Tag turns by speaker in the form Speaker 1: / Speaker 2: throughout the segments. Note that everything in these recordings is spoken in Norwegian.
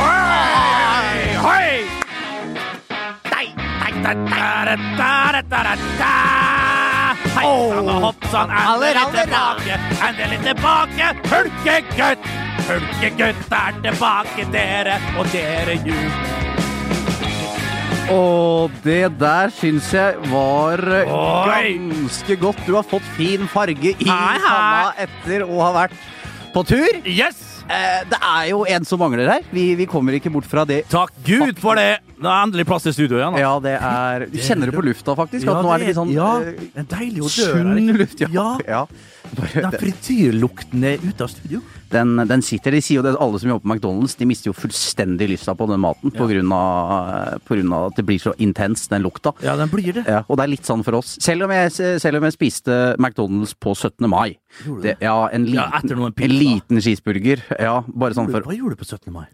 Speaker 1: Oi, hoi! Dei, dei, dei, dei, dei, dei, dei. Hei sann og hopp sann, er det litt tilbake, er det litt tilbake? Hulkegutt, hulkegutt er tilbake, dere og dere jul.
Speaker 2: Og det der syns jeg var eh,
Speaker 1: Oi!
Speaker 2: ganske godt. Du har fått fin farge i
Speaker 1: Hei, hei.
Speaker 2: panna etter å ha vært på tur.
Speaker 1: Yes!
Speaker 2: Eh, Det er jo en som mangler her. Vi, vi kommer ikke bort fra det.
Speaker 1: Takk Gud for det! Nå er endelig plass i studio igjen. da.
Speaker 2: Ja, det er Du kjenner det på lufta, faktisk. At nå er det litt sånn
Speaker 3: ja,
Speaker 2: eh,
Speaker 3: en deilig odør. er det
Speaker 2: sunn
Speaker 3: ikke?
Speaker 2: luft.
Speaker 3: Ja.
Speaker 2: ja.
Speaker 3: Den
Speaker 2: Bare,
Speaker 3: frityrlukten er ute av studio.
Speaker 2: den, den sitter. De sier jo det, alle som jobber på McDonald's, de mister jo fullstendig lysta på den maten på grunn av- eh, på grunn av at det blir så intens, den lukta.
Speaker 3: Ja, den blir det.
Speaker 2: Ja, og det er litt sånn for oss. Selv om jeg, selv om jeg spiste McDonald's på 17. mai.
Speaker 3: Gjorde du
Speaker 2: Det, ja, en liten,
Speaker 1: Ja, etter noen pizza.
Speaker 2: en liten cheeseburger. Ja, bare sånn for
Speaker 3: Hva gjorde du på 17. mai?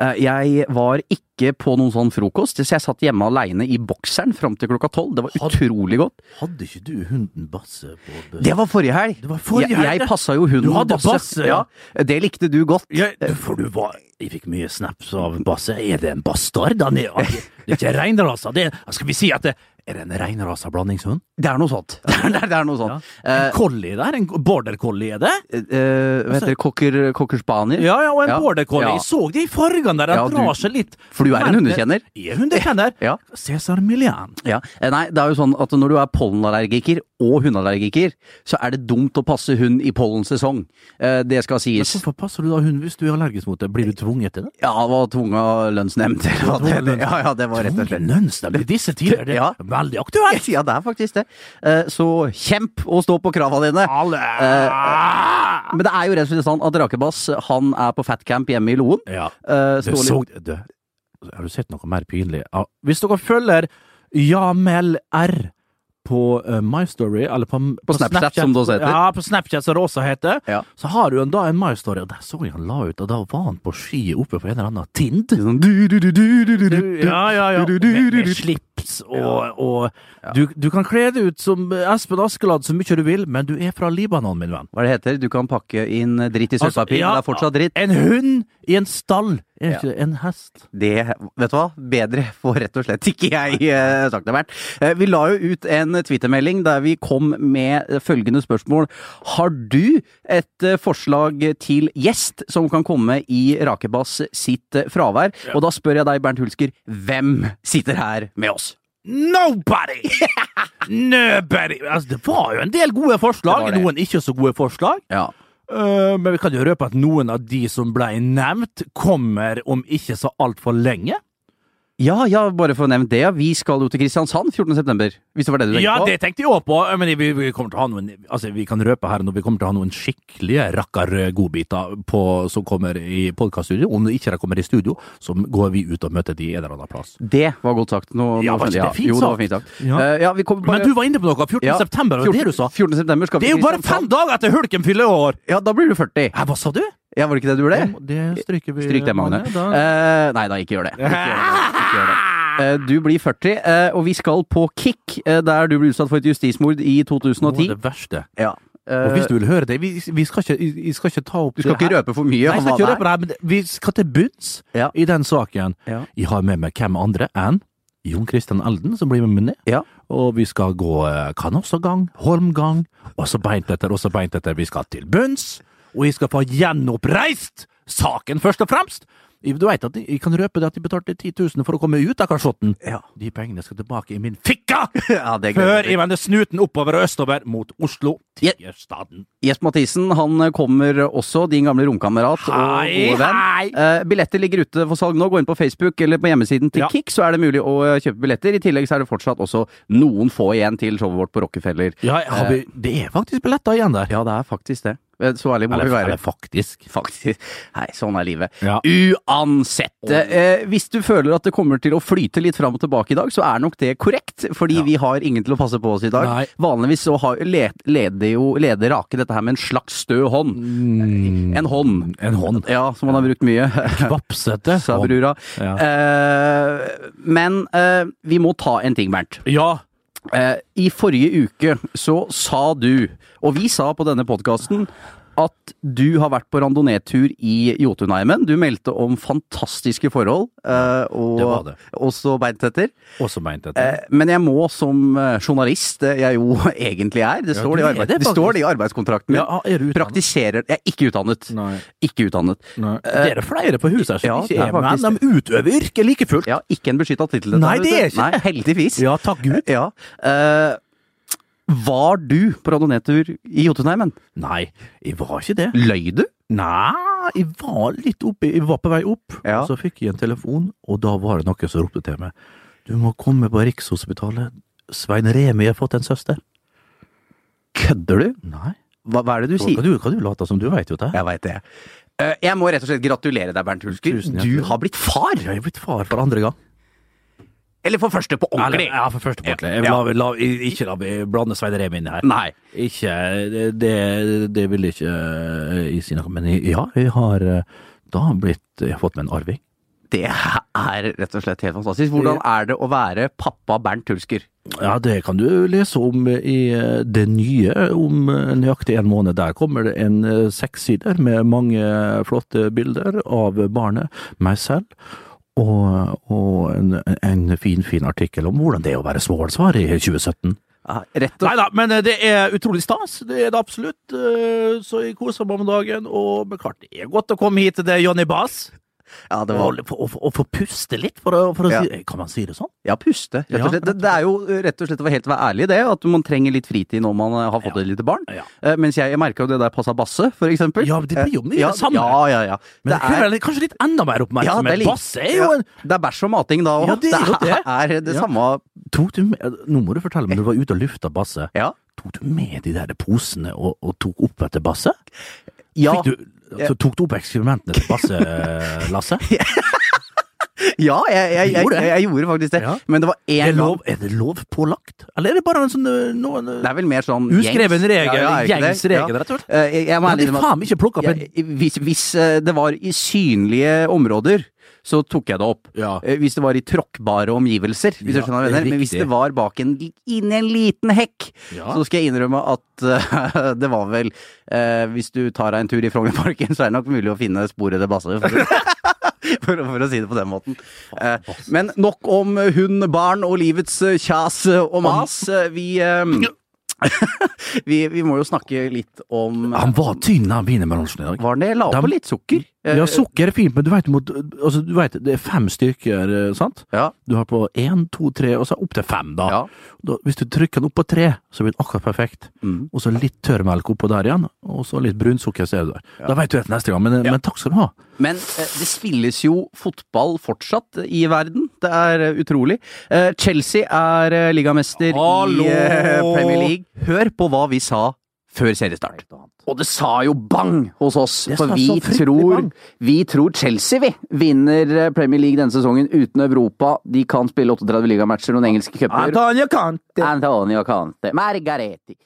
Speaker 2: Eh, Jeg var ikke på noen sånn frokost, så jeg satt hjemme aleine i bokseren fram til klokka tolv. Det var utrolig godt.
Speaker 3: Hadde ikke du hunden Basse på bøs?
Speaker 2: Det var forrige helg!
Speaker 3: Det var forrige helg,
Speaker 2: Jeg,
Speaker 3: det.
Speaker 2: jeg passa jo hunden
Speaker 3: Du hadde Basse, ja.
Speaker 2: ja. Det likte du godt.
Speaker 3: Jeg, for du var, jeg fikk mye snaps av Basse. Er det en bastard? Han er, han er, det er ikke reinrasa. Det, er- skal vi si at det er det en reinrasa blandingshund?
Speaker 2: Det er noe sånt. Det er, det er noe sånt.
Speaker 3: En collie der? En border collie er det?
Speaker 2: Eh, eh, hva heter det? Cocker, cocker spaniel?
Speaker 3: Altså- Ja, ja, og en
Speaker 2: Ja,
Speaker 3: border collie.
Speaker 2: ja.
Speaker 3: Jeg så det i fargene der. Den
Speaker 2: Ja, du-
Speaker 3: drar seg litt.
Speaker 2: For du er en
Speaker 3: Men-
Speaker 2: hundekjenner?
Speaker 3: Jeg er hundekjenner.
Speaker 2: Ja.
Speaker 3: Cæsar Milian.
Speaker 2: Ja. Eh, Nei, det er jo sånn at når du er pollenallergiker og hundeallergiker, så er det dumt å passe hund i pollensesong. Eh, Det skal
Speaker 3: Men
Speaker 2: sies.
Speaker 3: hvorfor passer du da hund hvis du er allergisk mot det? Blir du tvunget til det?
Speaker 2: Ja, det var tvunga lønnsnemnd. eller hva det
Speaker 3: Tvunget
Speaker 2: heter.
Speaker 3: lønnsnemnd.
Speaker 2: Ja, ja, det var rett og slett.
Speaker 3: Lønnsnemnd i disse tider, det er
Speaker 2: Ja.
Speaker 3: veldig aktuelt!
Speaker 2: Ja, det er faktisk det. Eh, Så kjemp og stå på krava dine.
Speaker 3: Alle
Speaker 2: Men det er jo rett og slett sånn at Rakebass han er på fatcamp hjemme i Loen.
Speaker 3: Ja.
Speaker 2: Eh,
Speaker 3: Du
Speaker 2: står
Speaker 3: så
Speaker 2: litt-
Speaker 3: du, Har du sett noe mer pinlig? Ja. Hvis dere følger Jamel R på eh, My MyStory, eller på, på
Speaker 2: Snapchat, som det også heter.
Speaker 3: Ja, på Snapchat, som det også heter.
Speaker 2: Ja.
Speaker 3: Så har du en, da en MyStory, og der så jeg han la ut, og da var han på ski oppe på en eller annen tind.
Speaker 2: Sånn, du, du, du, du, du, du, du.
Speaker 3: Ja, ja, ja.
Speaker 2: Du, du, du,
Speaker 3: Med,
Speaker 2: du,
Speaker 3: med
Speaker 2: du.
Speaker 3: slips og, og du, du kan kle deg ut som Espen Askeladd så mye du vil, men du er fra Libanon, min venn. Altså,
Speaker 2: Hva er det heter? Du kan pakke inn dritt i sølvpapir, men det er fortsatt dritt.
Speaker 3: En hund i en stall er
Speaker 2: Ja.
Speaker 3: ikke en hest.
Speaker 2: Det, vet du hva, bedre får rett og slett ikke jeg eh, sagt det vært. Eh, vi la jo ut en twittermelding der vi kom med eh, følgende spørsmål. Har du et eh, forslag til gjest som kan komme i Rakebass sitt eh, fravær? Og da spør jeg deg, Bernt Hulsker, hvem sitter her med oss?
Speaker 3: Nobody! Nobody! Altså, det var jo en del gode forslag,
Speaker 2: Det var det.
Speaker 3: noen ikke så gode forslag.
Speaker 2: Ja.
Speaker 3: Eh, men vi kan jo røpe at noen av de som ble nevnt, kommer om ikke så altfor lenge.
Speaker 2: Ja, ja, bare for å nevne det. ja. Vi skal jo til Kristiansand 14. september, hvis det var det du tenkte
Speaker 3: Ja,
Speaker 2: på?
Speaker 3: det tenkte jeg òg på, Eh, men vi, vi kommer til å ha noen Altså, vi kan røpe her når vi kommer til å ha noen skikkelige rakkar-godbiter på- som kommer i podkaststudio. Om det ikke de kommer i studio, så går vi ut og møter de en eller annen plass.
Speaker 2: Det var godt sagt. Nå,
Speaker 3: Ja,
Speaker 2: nå,
Speaker 3: var ikke det fint
Speaker 2: jo, det var
Speaker 3: sagt?
Speaker 2: fint sagt.
Speaker 3: Ja.
Speaker 2: Eh, ja, vi kommer bare...
Speaker 3: Men du var inne på noe. 14.
Speaker 2: Ja,
Speaker 3: september, var det det du sa?
Speaker 2: 14. september skal vi
Speaker 3: Det er jo
Speaker 2: til
Speaker 3: bare fem
Speaker 2: Kristiansand.
Speaker 3: dager etter Hulken fyller år!
Speaker 2: Ja, da blir du 40.
Speaker 3: Hæ, hva sa du?
Speaker 2: Ja, var det ikke det du ble?
Speaker 3: Det stryker vi.
Speaker 2: Stryk det, Magne.
Speaker 3: Da-
Speaker 2: Eh, nei da, ikke gjør det. Ikke gjør det. Ikke gjør det. Eh, du blir 40, eh, og vi skal på Kick, eh, der du ble utsatt for et justismord
Speaker 3: Noe
Speaker 2: i
Speaker 3: av
Speaker 2: 2010.
Speaker 3: det verste.
Speaker 2: Ja. Eh,
Speaker 3: Og hvis du vil høre det Vi, vi, skal, ikke, vi skal ikke ta opp
Speaker 2: du skal
Speaker 3: det
Speaker 2: ikke
Speaker 3: her.
Speaker 2: røpe for mye
Speaker 3: Nei, jeg
Speaker 2: om
Speaker 3: skal
Speaker 2: hva
Speaker 3: ikke
Speaker 2: det
Speaker 3: røpe
Speaker 2: er.
Speaker 3: det her, men det- vi skal til bunns
Speaker 2: Ja.
Speaker 3: i den saken.
Speaker 2: Ja.
Speaker 3: Jeg har med meg hvem andre enn Jon Christian Elden, som blir med meg ned.
Speaker 2: Ja.
Speaker 3: Og vi skal gå eh, kanossagang, holmgang, og så beint etter, og så beint etter. Vi skal til bunns, og jeg skal få gjenoppreist saken, først og fremst. Jeg- Du veit at jeg jeg kan røpe det at de betalte 10 000 for å komme ut av kasjotten.
Speaker 2: Ja.
Speaker 3: De pengene skal tilbake i min fikka!
Speaker 2: Ja, det gleder
Speaker 3: Før
Speaker 2: jeg
Speaker 3: jeg
Speaker 2: meg.
Speaker 3: vender snuten oppover og østover mot Oslo,
Speaker 2: Ja.
Speaker 3: Tierstaden.
Speaker 2: Jesper Mathisen han kommer også, din gamle romkamerat og
Speaker 3: Hei,
Speaker 2: gode venn.
Speaker 3: hei!
Speaker 2: Eh, billetter ligger ute for salg nå. Gå inn på Facebook eller på hjemmesiden til
Speaker 3: Ja.
Speaker 2: Kick, så er det mulig å eh, kjøpe billetter. I tillegg så er det fortsatt også noen få igjen til showet vårt på Rockefeller.
Speaker 3: Ja, har vi, det er faktisk billetter igjen der.
Speaker 2: Ja, det er faktisk det. Eh, Så ærlig må
Speaker 3: Eller,
Speaker 2: vi være.
Speaker 3: eller faktisk.
Speaker 2: Faktisk. Nei, sånn er livet.
Speaker 3: Ja.
Speaker 2: Uansett. Eh, hvis du føler at det kommer til å flyte litt fram og tilbake i dag, så er nok det korrekt. Fordi vi har ingen til å passe på oss i dag.
Speaker 3: Nei.
Speaker 2: Vanligvis så har, led, leder jo leder Rake dette her med en slags stø hånd. Mm. En hånd.
Speaker 3: En hånd.
Speaker 2: Ja, som han har brukt mye.
Speaker 3: Vapsete.
Speaker 2: Sa brura.
Speaker 3: Ja.
Speaker 2: Eh, men eh, vi må ta en ting, Bernt.
Speaker 3: Ja.
Speaker 2: Eh, I forrige uke så sa du, og vi sa på denne podkasten, at du har vært på randoneetur i Jotunheimen. Du meldte om fantastiske forhold, eh,
Speaker 3: Det var
Speaker 2: og
Speaker 3: det.
Speaker 2: også beintetter.
Speaker 3: Også beint etter.
Speaker 2: Eh, Men jeg må som eh, journalist, det jeg jo egentlig er, det
Speaker 3: Ja,
Speaker 2: står,
Speaker 3: du
Speaker 2: det, i
Speaker 3: er
Speaker 2: arbeid,
Speaker 3: det
Speaker 2: det,
Speaker 3: faktisk.
Speaker 2: står det i arbeidskontrakten min,
Speaker 3: Ja, er du utdannet?
Speaker 2: praktiserer Jeg er ikke utdannet.
Speaker 3: Nei.
Speaker 2: Ikke utdannet.
Speaker 3: Nei. Det er flere på huset her som
Speaker 2: eh, Ja, det
Speaker 3: ikke
Speaker 2: er
Speaker 3: er menn.
Speaker 2: faktisk
Speaker 3: De utøver yrket like fullt.
Speaker 2: Ja, ikke en beskytta tittel. dette,
Speaker 3: Nei,
Speaker 2: vet
Speaker 3: det
Speaker 2: du.
Speaker 3: er ikke-
Speaker 2: Nei, heldigvis.
Speaker 3: Ja, takk Gud.
Speaker 2: Ja. Eh, var du på radionetur i Jotunheimen?
Speaker 3: Nei, jeg var ikke det.
Speaker 2: Løy du?
Speaker 3: Nei, jeg var litt oppe, jeg var på vei opp,
Speaker 2: Ja.
Speaker 3: og så fikk jeg en telefon, og da var det noen som ropte til meg. Du må komme på Rikshospitalet. Svein Remi har fått en søster.
Speaker 2: Kødder du?
Speaker 3: Nei.
Speaker 2: Hva, hva er det du
Speaker 3: Hva
Speaker 2: sier?
Speaker 3: du, hva du later som, du veit jo det.
Speaker 2: Jeg veit det. Eh, jeg må rett og slett gratulere deg, Bernt Hulsker.
Speaker 3: Tusen
Speaker 2: Du
Speaker 3: hjertelig.
Speaker 2: har blitt far!
Speaker 3: Jeg er blitt far for andre gang.
Speaker 2: Eller for første på ordentlig.
Speaker 3: Eller, ja, for første på ordentlig. Jeg
Speaker 2: Ja.
Speaker 3: la- la- Ikke la meg blande Svein Remi inn her.
Speaker 2: Nei.
Speaker 3: Ikke Det, det- det vil jeg ikke eh, jeg si noe om. Men jeg- ja, jeg har eh, da blitt Jeg har fått meg en arving.
Speaker 2: Det er rett og slett helt fantastisk. Hvordan er det å være pappa Bernt Hulsker?
Speaker 3: Ja, det kan du lese om i eh, det nye om eh, nøyaktig en måned. Der kommer det en eh, sekssider med mange flotte bilder av barnet, meg selv, og, og en, en fin, fin artikkel om hvordan det er å være småbarnsfar i 2017.
Speaker 2: Rett og
Speaker 3: Nei da, men eh, det er utrolig stas. Det er det absolutt. Eh, Så jeg koser meg om dagen. Og men klart, det er godt å komme hit til deg, Johnny Bass.
Speaker 2: Ja, det var
Speaker 3: Og få- og få- og få puste litt, for å, for å
Speaker 2: Ja.
Speaker 3: si Kan man si det sånn?
Speaker 2: Ja, puste. Rett
Speaker 3: Ja,
Speaker 2: og slett. Det, det er jo rett og slett å være helt å være ærlig i det, at man trenger litt fritid når man har fått
Speaker 3: Ja.
Speaker 2: et lite barn.
Speaker 3: Ja.
Speaker 2: Eh, Mens jeg, jeg merka jo det der passa basse, for eksempel.
Speaker 3: Ja, det blir jo mye
Speaker 2: ja,
Speaker 3: det samme.
Speaker 2: Ja, ja, ja.
Speaker 3: Men det krever litt- kanskje litt enda mer
Speaker 2: ja,
Speaker 3: oppmerksomhet.
Speaker 2: litt-
Speaker 3: Bass er jo
Speaker 2: ja,
Speaker 3: en
Speaker 2: Det er bæsj og mating da òg.
Speaker 3: Ja, det er jo det.
Speaker 2: er det
Speaker 3: Ja.
Speaker 2: samme
Speaker 3: Tok du med, Nå må du fortelle meg, du var ute og lufta Basse.
Speaker 2: Ja.
Speaker 3: Tok du med de der posene og, og tok opp etter Basse?
Speaker 2: Ja,
Speaker 3: Fikk du, altså, tok du opp eksperimentene til Basse, eh, Lasse?
Speaker 2: ja jeg, jeg, jeg,
Speaker 3: Gjorde det?
Speaker 2: jeg, gjorde faktisk det.
Speaker 3: Ja.
Speaker 2: Men det var
Speaker 3: Er,
Speaker 2: én gang
Speaker 3: lov, er det lov pålagt? Eller er det bare en sånn eh, noen, eh,
Speaker 2: Det er vel mer sånn
Speaker 3: Uskreven
Speaker 2: gjengs.
Speaker 3: regel,
Speaker 2: er ikke
Speaker 3: gjengs
Speaker 2: det?
Speaker 3: regel, rett og slett.
Speaker 2: Eh, Jeg, jeg må
Speaker 3: Hadde de
Speaker 2: ærlig innrømme at-
Speaker 3: faen ikke plukka opp en
Speaker 2: jeg, hvis, hvis eh, det var i synlige områder, så tok jeg det opp.
Speaker 3: Ja.
Speaker 2: Eh, Hvis det var i tråkkbare omgivelser, hvis
Speaker 3: Ja,
Speaker 2: du skjønner hva jeg mener. Men hvis
Speaker 3: riktig.
Speaker 2: det var bak en, inni en liten hekk,
Speaker 3: Ja.
Speaker 2: så skal jeg innrømme at eh, det var vel eh, Hvis du tar deg en tur i Frognerparken, så er det nok mulig å finne sporet det basser. For, å- for, å- for å si det på den måten. Eh, Men nok om hund, barn og livets eh, kjas og mas. Eh, Vi eh, Vi, vi må jo snakke litt om
Speaker 3: Han var tynn, han wienerbransjen i dag.
Speaker 2: var det la
Speaker 3: Dem-
Speaker 2: på litt sukker? Eh,
Speaker 3: Ja, sukker er fint, men du veit, altså, du vet, det er fem stykker, eh, sant?
Speaker 2: Ja.
Speaker 3: Du har på én, to, tre, og så opp til fem, da.
Speaker 2: Ja.
Speaker 3: da. Hvis du trykker den opp på tre, så blir den akkurat perfekt.
Speaker 2: Mm.
Speaker 3: Og så litt tørrmelk oppå der igjen, og så litt brunsukker, så er du der. Da veit du det til neste gang, men, eh, men takk skal du ha.
Speaker 2: Men eh, det spilles jo fotball fortsatt i verden. Det er eh, utrolig. Eh, Chelsea er eh, ligamester
Speaker 3: Hallo!
Speaker 2: i eh, Premier League. Hør på hva vi sa før seriestart. Og det sa jo bang hos oss,
Speaker 3: Det
Speaker 2: for
Speaker 3: sa
Speaker 2: vi
Speaker 3: så fryktelig
Speaker 2: tror,
Speaker 3: bang.
Speaker 2: vi tror Chelsea vi vinner eh, Premier League denne sesongen uten Europa. De kan spille 38 ligamatcher, noen engelske cuper.
Speaker 3: Antonio Cante!
Speaker 2: Antonio Conte. Margaretti.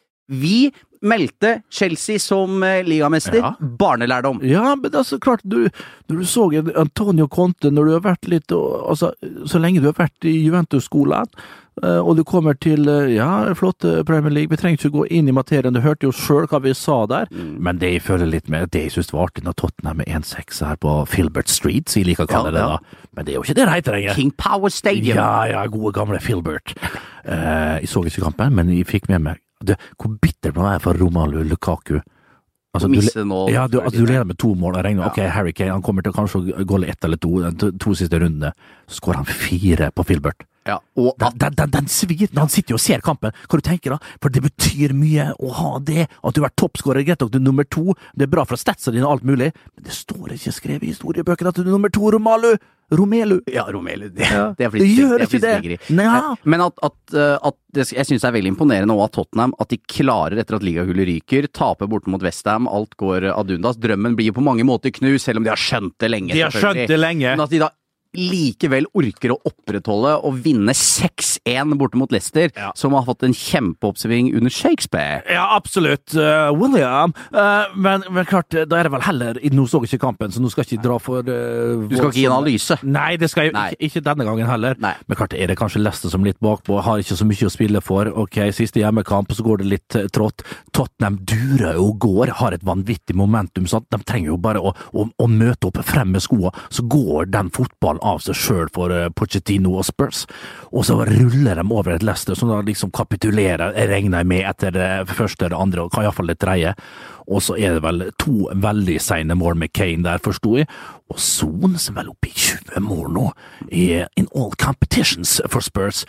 Speaker 2: Vi meldte Chelsea som eh, ligamester.
Speaker 3: Ja.
Speaker 2: Barnelærdom.
Speaker 3: Ja, men altså, klart, du, når du så en Antonio Conte, når du har vært litt og, altså, Så lenge du har vært i Juventus-skolen, eh, og du kommer til eh, ja, flott eh, Premier League Vi trenger ikke gå inn i materien, du hørte jo sjøl hva vi sa der.
Speaker 2: Mm.
Speaker 3: Men det jeg føler litt med, det jeg syns var artig når Tottenham er 1-6 her på Filbert Street, som jeg liker å kalle
Speaker 2: Ja,
Speaker 3: det,
Speaker 2: ja.
Speaker 3: da. Men det er jo ikke det det heter lenger.
Speaker 2: King Power Stadium.
Speaker 3: Ja, ja, gode gamle Filbert. Eh, jeg så ikke kampen, men jeg fikk med meg det, hvor bitter man er for Romelu Lukaku. Altså,
Speaker 2: Å
Speaker 3: du-
Speaker 2: misse nå
Speaker 3: ja, du,
Speaker 2: før
Speaker 3: altså, du
Speaker 2: de-
Speaker 3: leder med to mål og regner Ok, Harry Kane han kommer til kanskje å gå ett eller to de to- to siste rundene. Så skårer han fire på Filbert.
Speaker 2: Ja, og
Speaker 3: Den, den, den, den svir! når Han sitter jo og ser kampen. Hva du tenker da? For det betyr mye å ha det. At du har vært toppskårer, greit nok, du er nummer to. Det er bra for statsa dine og alt mulig. Men det står ikke skrevet i historiebøkene at du er nummer to, Romalu! Romelu!
Speaker 2: Ja, Romelu. Det,
Speaker 3: Ja.
Speaker 2: det er
Speaker 3: Det
Speaker 2: flittig.
Speaker 3: gjør
Speaker 2: er
Speaker 3: ikke det.
Speaker 2: flittiggeri.
Speaker 3: Nja.
Speaker 2: Men at, at, eh, at det, jeg syns det er veldig imponerende òg at Tottenham at de klarer, etter at ligahullet ryker, taper borte mot Westham, alt går ad undas. Drømmen blir jo på mange måter knust, selv om de har skjønt det lenge.
Speaker 3: De har skjønt
Speaker 2: selvfølgelig.
Speaker 3: det lenge.
Speaker 2: Men at de da likevel orker å opprettholde og vinne 6-1 borte mot Leicester,
Speaker 3: Ja.
Speaker 2: som har fått en kjempeoppsving under Shakespeare.
Speaker 3: Ja, absolutt, eh, William. Eh, men, men klart, eh, da er det vel heller Nå så jeg ikke kampen, så nå skal jeg ikke dra for eh,
Speaker 2: Du skal ikke gi en
Speaker 3: voldsomme-
Speaker 2: analyse.
Speaker 3: Nei, det skal jeg
Speaker 2: Nei.
Speaker 3: ikke, ikke denne gangen heller.
Speaker 2: Nei.
Speaker 3: Men klart er det kanskje Leicester som er litt bakpå, har ikke så mye å spille for. Ok, siste hjemmekamp, og så går det litt eh, trått. Tottenham durer og går, har et vanvittig momentum. Sant? De trenger jo bare å, å, å møte opp frem med skoa, så går den fotballen av seg sjøl for eh, Pochettino og Spurs. Og så ruller de over et Leicester som da liksom kapitulerer, regner jeg med, etter det første, det andre og iallfall det tredje. Og så er det vel to veldig seine mål med Kane der, forsto jeg. Og Son, som er vel oppe i 20 mål nå, i in all competitions for Spurs.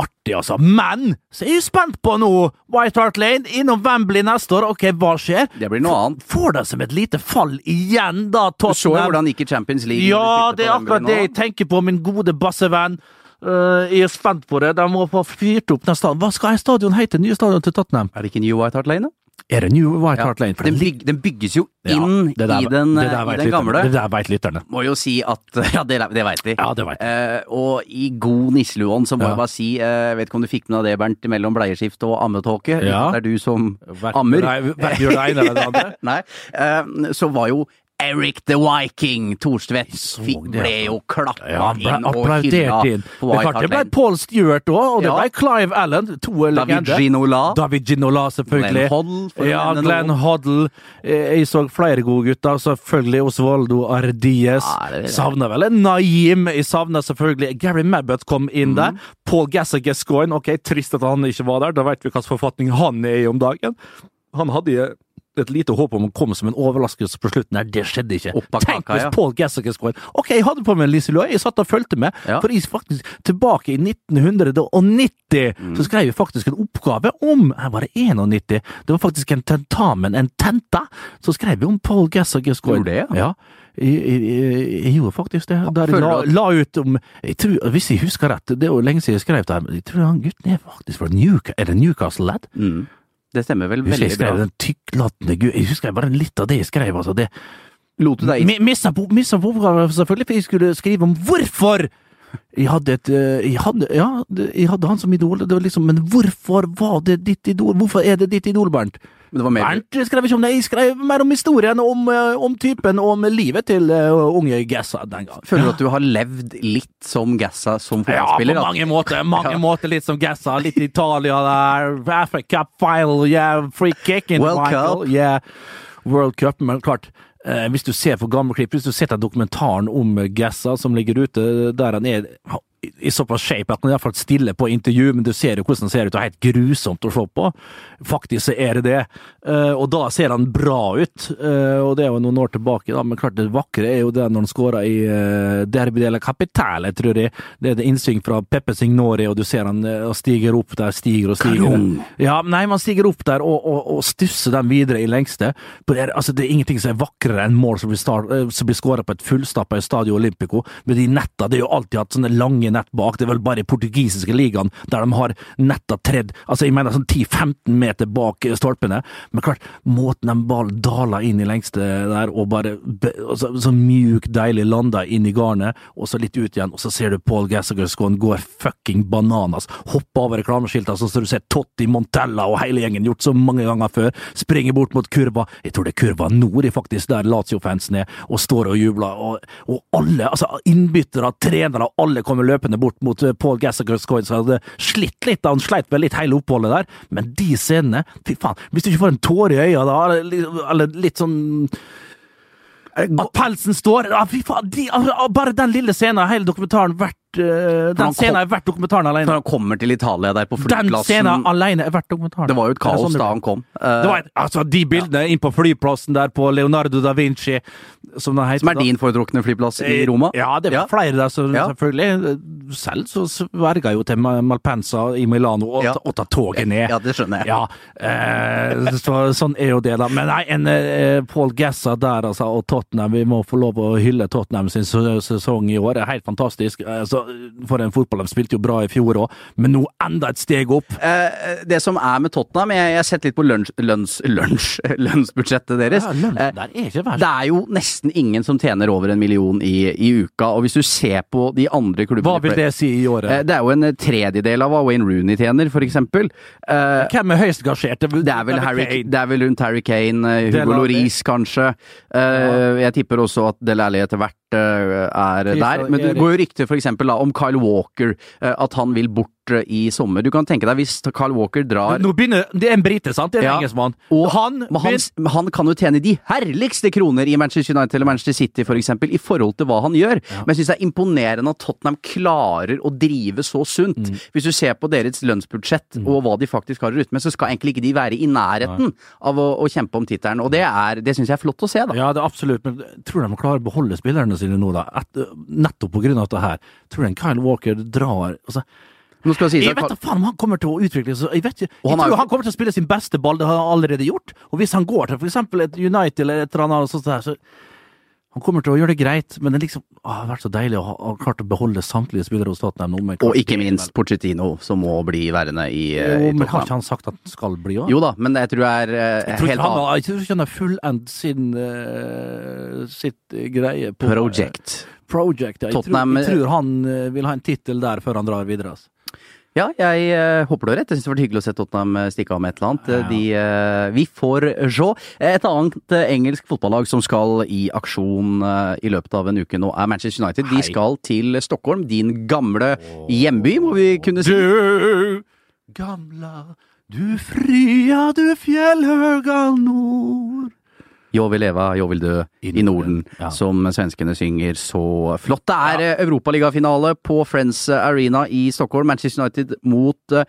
Speaker 3: Artig, altså. Men så er jeg spent på nå! White Hart Lane innom Wembley neste år. Ok, hva skjer?
Speaker 2: Det blir noe annet.
Speaker 3: Får det som et lite fall igjen, da,
Speaker 2: Du så jo
Speaker 3: Tottenham?
Speaker 2: hvordan det gikk i Champions League.
Speaker 3: Ja,
Speaker 2: når de
Speaker 3: det er
Speaker 2: spilte på
Speaker 3: akkurat det
Speaker 2: Wembley
Speaker 3: jeg
Speaker 2: nå.
Speaker 3: tenker på, min gode bassevenn. Eh, jeg er spent på det. De må få fyrt opp den stadion. Hva skal stadion hete? Nye stadion til Tottenham?
Speaker 2: Er det ikke New White Hart Lane, da?
Speaker 3: Er det New White Hart Lane? For
Speaker 2: Den,
Speaker 3: det
Speaker 2: byg, den bygges jo
Speaker 3: Ja,
Speaker 2: inn
Speaker 3: det der-
Speaker 2: i den,
Speaker 3: det der
Speaker 2: i
Speaker 3: vet
Speaker 2: den
Speaker 3: lytterne.
Speaker 2: gamle.
Speaker 3: Det der veit lytterne.
Speaker 2: Må jo si at Ja, det, det veit vi.
Speaker 3: Ja, det vet jeg.
Speaker 2: Eh, og i god nisseluånd, så må
Speaker 3: Ja.
Speaker 2: jeg bare si, eh, jeg vet ikke om du fikk med deg det, Bernt, mellom bleieskift og ammetåke.
Speaker 3: Ja.
Speaker 2: Det er du som
Speaker 3: Hvert-
Speaker 2: ammer.
Speaker 3: Nei, hvert gjør det ene eller det andre.
Speaker 2: Nei. Eh, så var jo Eric the Viking Thorstvedt
Speaker 3: så
Speaker 2: fikk-
Speaker 3: det,
Speaker 2: ble jo klappa
Speaker 3: Ja, han ble
Speaker 2: inn og
Speaker 3: applaudert
Speaker 2: hylla
Speaker 3: inn.
Speaker 2: på
Speaker 3: Det, er
Speaker 2: White
Speaker 3: klart, det
Speaker 2: Hart
Speaker 3: ble
Speaker 2: Lane.
Speaker 3: Paul Stewart òg, og det
Speaker 2: Ja.
Speaker 3: ble Clive Allen. To
Speaker 2: David
Speaker 3: legender.
Speaker 2: Ginola.
Speaker 3: David Ginola, selvfølgelig.
Speaker 2: Glenn Hoddle, for å
Speaker 3: ja,
Speaker 2: nevne
Speaker 3: Glenn
Speaker 2: noen.
Speaker 3: Hoddle. Eh, Jeg så flere gode gutter. Selvfølgelig Osvaldo Ardies.
Speaker 2: Ja, det er det.
Speaker 3: savner vel en Naim. Jeg savner selvfølgelig Gary Mabbott kom
Speaker 2: Mhm.
Speaker 3: inn der. Paul Gasser Gascoigne. Ok, trist at han ikke var der. Da vet vi hvilken forfatning han er i om dagen. Han hadde jo et lite håp om å komme som en overraskelse på slutten. Nei, det skjedde ikke.
Speaker 2: Opp av
Speaker 3: Tenk
Speaker 2: kaka,
Speaker 3: hvis
Speaker 2: ja.
Speaker 3: Paul Gasser Gascoigne Ok, jeg hadde på meg en Lise Loy. Jeg satt og fulgte med.
Speaker 2: Ja.
Speaker 3: For jeg faktisk, tilbake i 1990 så skrev jeg faktisk en oppgave om Her var det 91. Det var faktisk en tentamen, en tenta. Så skrev jeg om Paul Gasser Gascoigne.
Speaker 2: Gjorde det,
Speaker 3: ja. Jeg, jeg, jeg, jeg gjorde faktisk det. Der jeg
Speaker 2: føler
Speaker 3: la,
Speaker 2: du at-
Speaker 3: la ut om jeg tror, Hvis jeg husker rett, det er jo lenge siden jeg skrev det her, men jeg tror han gutten er faktisk fra Newcastle. Er det Newcastle-ledd?
Speaker 2: Mm. Det stemmer vel
Speaker 3: Jeg husker jeg
Speaker 2: veldig
Speaker 3: skrev
Speaker 2: bra.
Speaker 3: den tykklatende gu- Jeg husker bare litt av det jeg skrev. altså det
Speaker 2: Lot du deg inn?
Speaker 3: Mi- Missa på missa på oppgaven, selvfølgelig, for jeg skulle skrive om hvorfor! Jeg hadde et eh, jeg hadde, Ja, det- jeg hadde han som idol, det var liksom, men hvorfor var det ditt idol? Hvorfor er det ditt idol, Bernt?
Speaker 2: Men det var mer
Speaker 3: Bernt jeg skrev ikke om det, jeg skrev mer om historien, om, eh, om typen, og om livet til eh, unge Gessa den gangen.
Speaker 2: Føler du at du har levd litt som Gassa som
Speaker 3: Ja, på
Speaker 2: fotballspiller? at-
Speaker 3: mange måter. mange måter Litt som Gessa. Litt Italia der. Africa Cup final, yeah. Free kick in
Speaker 2: World
Speaker 3: the final.
Speaker 2: Cup.
Speaker 3: Yeah. World Cup. Men klart, eh, hvis du ser for gamle klipp, hvis du ser den dokumentaren om Gessa som ligger ute, eh, der han er i- i såpass shape at han iallfall stiller på intervju, men du ser jo hvordan han ser ut, og helt grusomt å se på. Faktisk så er det det. Eh, og da ser han bra ut, eh, og det er jo noen år tilbake, da, men klart det vakre er jo det når han skårer i eh, Derby de la Capitale, tror jeg. Det er det innsving fra Peppe Signori, og du ser han eh, og stiger opp der, stiger og stiger.
Speaker 2: Karong.
Speaker 3: Ja, nei, man stiger opp der og, og, og stusser dem videre i lengste. For Det er, altså, det er ingenting som er vakrere enn mål som blir, star- eh, som blir skåra på et fullstappa Stadio Olympico. Med de netta, det er jo alltid hatt sånne lange nett bak. Det er vel bare i portugisiske ligaen der de har netta tredd altså jeg mener sånn 10-15 meter bak eh, stolpene. Men klart, måten den ballen daler inn i lengste der, og bare be- og så, så mjuk, deilig landa inn i garnet, og så litt ut igjen, og så ser du Paul Gassagerskoen går fucking bananas, hopper over reklameskiltene, sånn som du ser Totti, Montella og hele gjengen gjort så mange ganger før, springer bort mot kurva, jeg tror det er kurva nord, i faktisk, der Lazio-fansen er, og står og jubler, og, og alle, altså innbyttere, trenere, alle kommer løpende bort mot eh, Paul Gassagerskoen, som hadde slitt litt, han sleit vel litt hele oppholdet der, men de scenene, fy faen, hvis du ikke får en tåre i øya da, eller- eller litt sånn
Speaker 2: Eh,
Speaker 3: at pelsen står ja, Fy faen, de, ah, bare den lille scenen har hele dokumentaren vært eh,
Speaker 2: han
Speaker 3: Den scenen er verdt dokumentaren
Speaker 2: Når
Speaker 3: alene.
Speaker 2: han kommer til Italia der på
Speaker 3: Den scenen
Speaker 2: flyplassen
Speaker 3: alene er verdt dokumentaren.
Speaker 2: Det var jo et
Speaker 3: Er
Speaker 2: kaos
Speaker 3: sånn det
Speaker 2: da
Speaker 3: blir?
Speaker 2: han kom.
Speaker 3: Det var et, altså, de bildene inn på flyplassen der på Leonardo da Vinci, som den heter
Speaker 2: Som er
Speaker 3: da. Eh,
Speaker 2: din Eh, foretrukne flyplass i Roma?
Speaker 3: Ja, det var flere der, så,
Speaker 2: Ja.
Speaker 3: selvfølgelig. Eh, Selv så sverga jeg jo til Ma- Malpensa i Milano og,
Speaker 2: Ja.
Speaker 3: og ta toget ned.
Speaker 2: Ja, det skjønner jeg.
Speaker 3: Ja, eh, så, sånn er jo det, da. Men nei, en eh, Paul Gassa der, altså, og Tottenham. Vi må få lov å hylle Tottenham sin se- sesong i år. Det er helt fantastisk. Eh, så eh, for en fotball. De spilte jo bra i fjor òg, men nå enda et steg opp.
Speaker 2: Eh, det som er med Tottenham Jeg, jeg har sett litt på lunsj, lunsj, lunsj, lønnsbudsjettet deres.
Speaker 3: Ja, lønnen
Speaker 2: Eh,
Speaker 3: der er ikke verst.
Speaker 2: det er jo nesten ingen som tjener over en million i, i uka, og hvis du ser på de andre klubbene
Speaker 3: Hva vil det si i
Speaker 2: Eh,
Speaker 3: året?
Speaker 2: Det er jo en tredjedel av hva Wayne Rooney tjener, for eksempel. Eh,
Speaker 3: Hvem er høyest gasjert?
Speaker 2: Det er vel, Harry, det er vel rundt Harry Kane, eh,
Speaker 3: Del
Speaker 2: Hugo
Speaker 3: Alli.
Speaker 2: Loris kanskje. Eh, Jeg tipper også at Del Alli etter hvert eh, er der.
Speaker 3: Christian
Speaker 2: Men det
Speaker 3: Eriksen.
Speaker 2: går jo rykter for eksempel da, om Kyle Walker, eh, at han vil bort eh, i sommer. Du kan tenke deg hvis Kyle Walker drar
Speaker 3: Nå begynner, det er en brite, sant? Det er en
Speaker 2: Ja.
Speaker 3: engelskmann.
Speaker 2: Og
Speaker 3: han,
Speaker 2: men han, men han kan jo tjene de herligste kroner i Manchester United eller Manchester City for eksempel, i forhold til hva han gjør. Men jeg syns det er imponerende at Tottenham klarer å drive så sunt.
Speaker 3: Mm.
Speaker 2: Hvis du ser på deres lønnsbudsjett og hva de faktisk har i rytme, så skal egentlig ikke de være i nærheten av å, å kjempe om tittelen. Og det, er- det syns jeg er flott å se, da.
Speaker 3: Ja, det er absolutt, men tror du de klarer å beholde spillerne sine nå, da? Et, nettopp på grunn av dette her. Tror du en Kyle Walker drar altså,
Speaker 2: Nå skal det sies
Speaker 3: Jeg
Speaker 2: at
Speaker 3: vet da faen om han kommer til å utvikle seg. Jeg, vet ikke, jeg
Speaker 2: Og han er
Speaker 3: tror
Speaker 2: jo ikke-
Speaker 3: han kommer til å spille sin beste ball, det har han allerede gjort. Og hvis han går til for eksempel et United eller et eller annet sånt der, så Han kommer til å gjøre det greit, men det er liksom å, Det har vært så deilig å ha å ha klart å beholde samtlige spillere hos Tottenham nå. men-
Speaker 2: Og ikke minst Pochettino, som må bli værende i, eh,
Speaker 3: Jo,
Speaker 2: i
Speaker 3: men har
Speaker 2: Tottenham.
Speaker 3: ikke han sagt at han skal bli òg?
Speaker 2: Jo da, men jeg tror det er eh,
Speaker 3: Jeg tror
Speaker 2: helt
Speaker 3: ikke han
Speaker 2: annet.
Speaker 3: har, jeg tror ikke han har fullendt sin eh, sitt eh, greie på
Speaker 2: Project.
Speaker 3: Project, ja. Jeg, tror,
Speaker 2: Tottenham-
Speaker 3: jeg tror han eh, vil ha en tittel der før han drar videre. Altså.
Speaker 2: Ja, jeg eh, håper du har rett. Jeg synes det var hyggelig å se Tottenham eh, stikke av med et eller annet. Eh, De, eh, vi får se. Et annet eh, engelsk fotballag som skal i aksjon eh, i løpet av en uke nå, er Manchester United.
Speaker 3: Hei.
Speaker 2: De skal til Stockholm, din gamle hjemby, må vi kunne si.
Speaker 3: Du gamla, du fria, du fjellhøga nord.
Speaker 2: Jo vil leva, jo vil dø
Speaker 3: I
Speaker 2: i Norden,
Speaker 3: Norden, ja.
Speaker 2: som svenskene synger så flott. Det er eh, europaligafinale på Friends eh, Arena i Stockholm. Manchester United mot eh,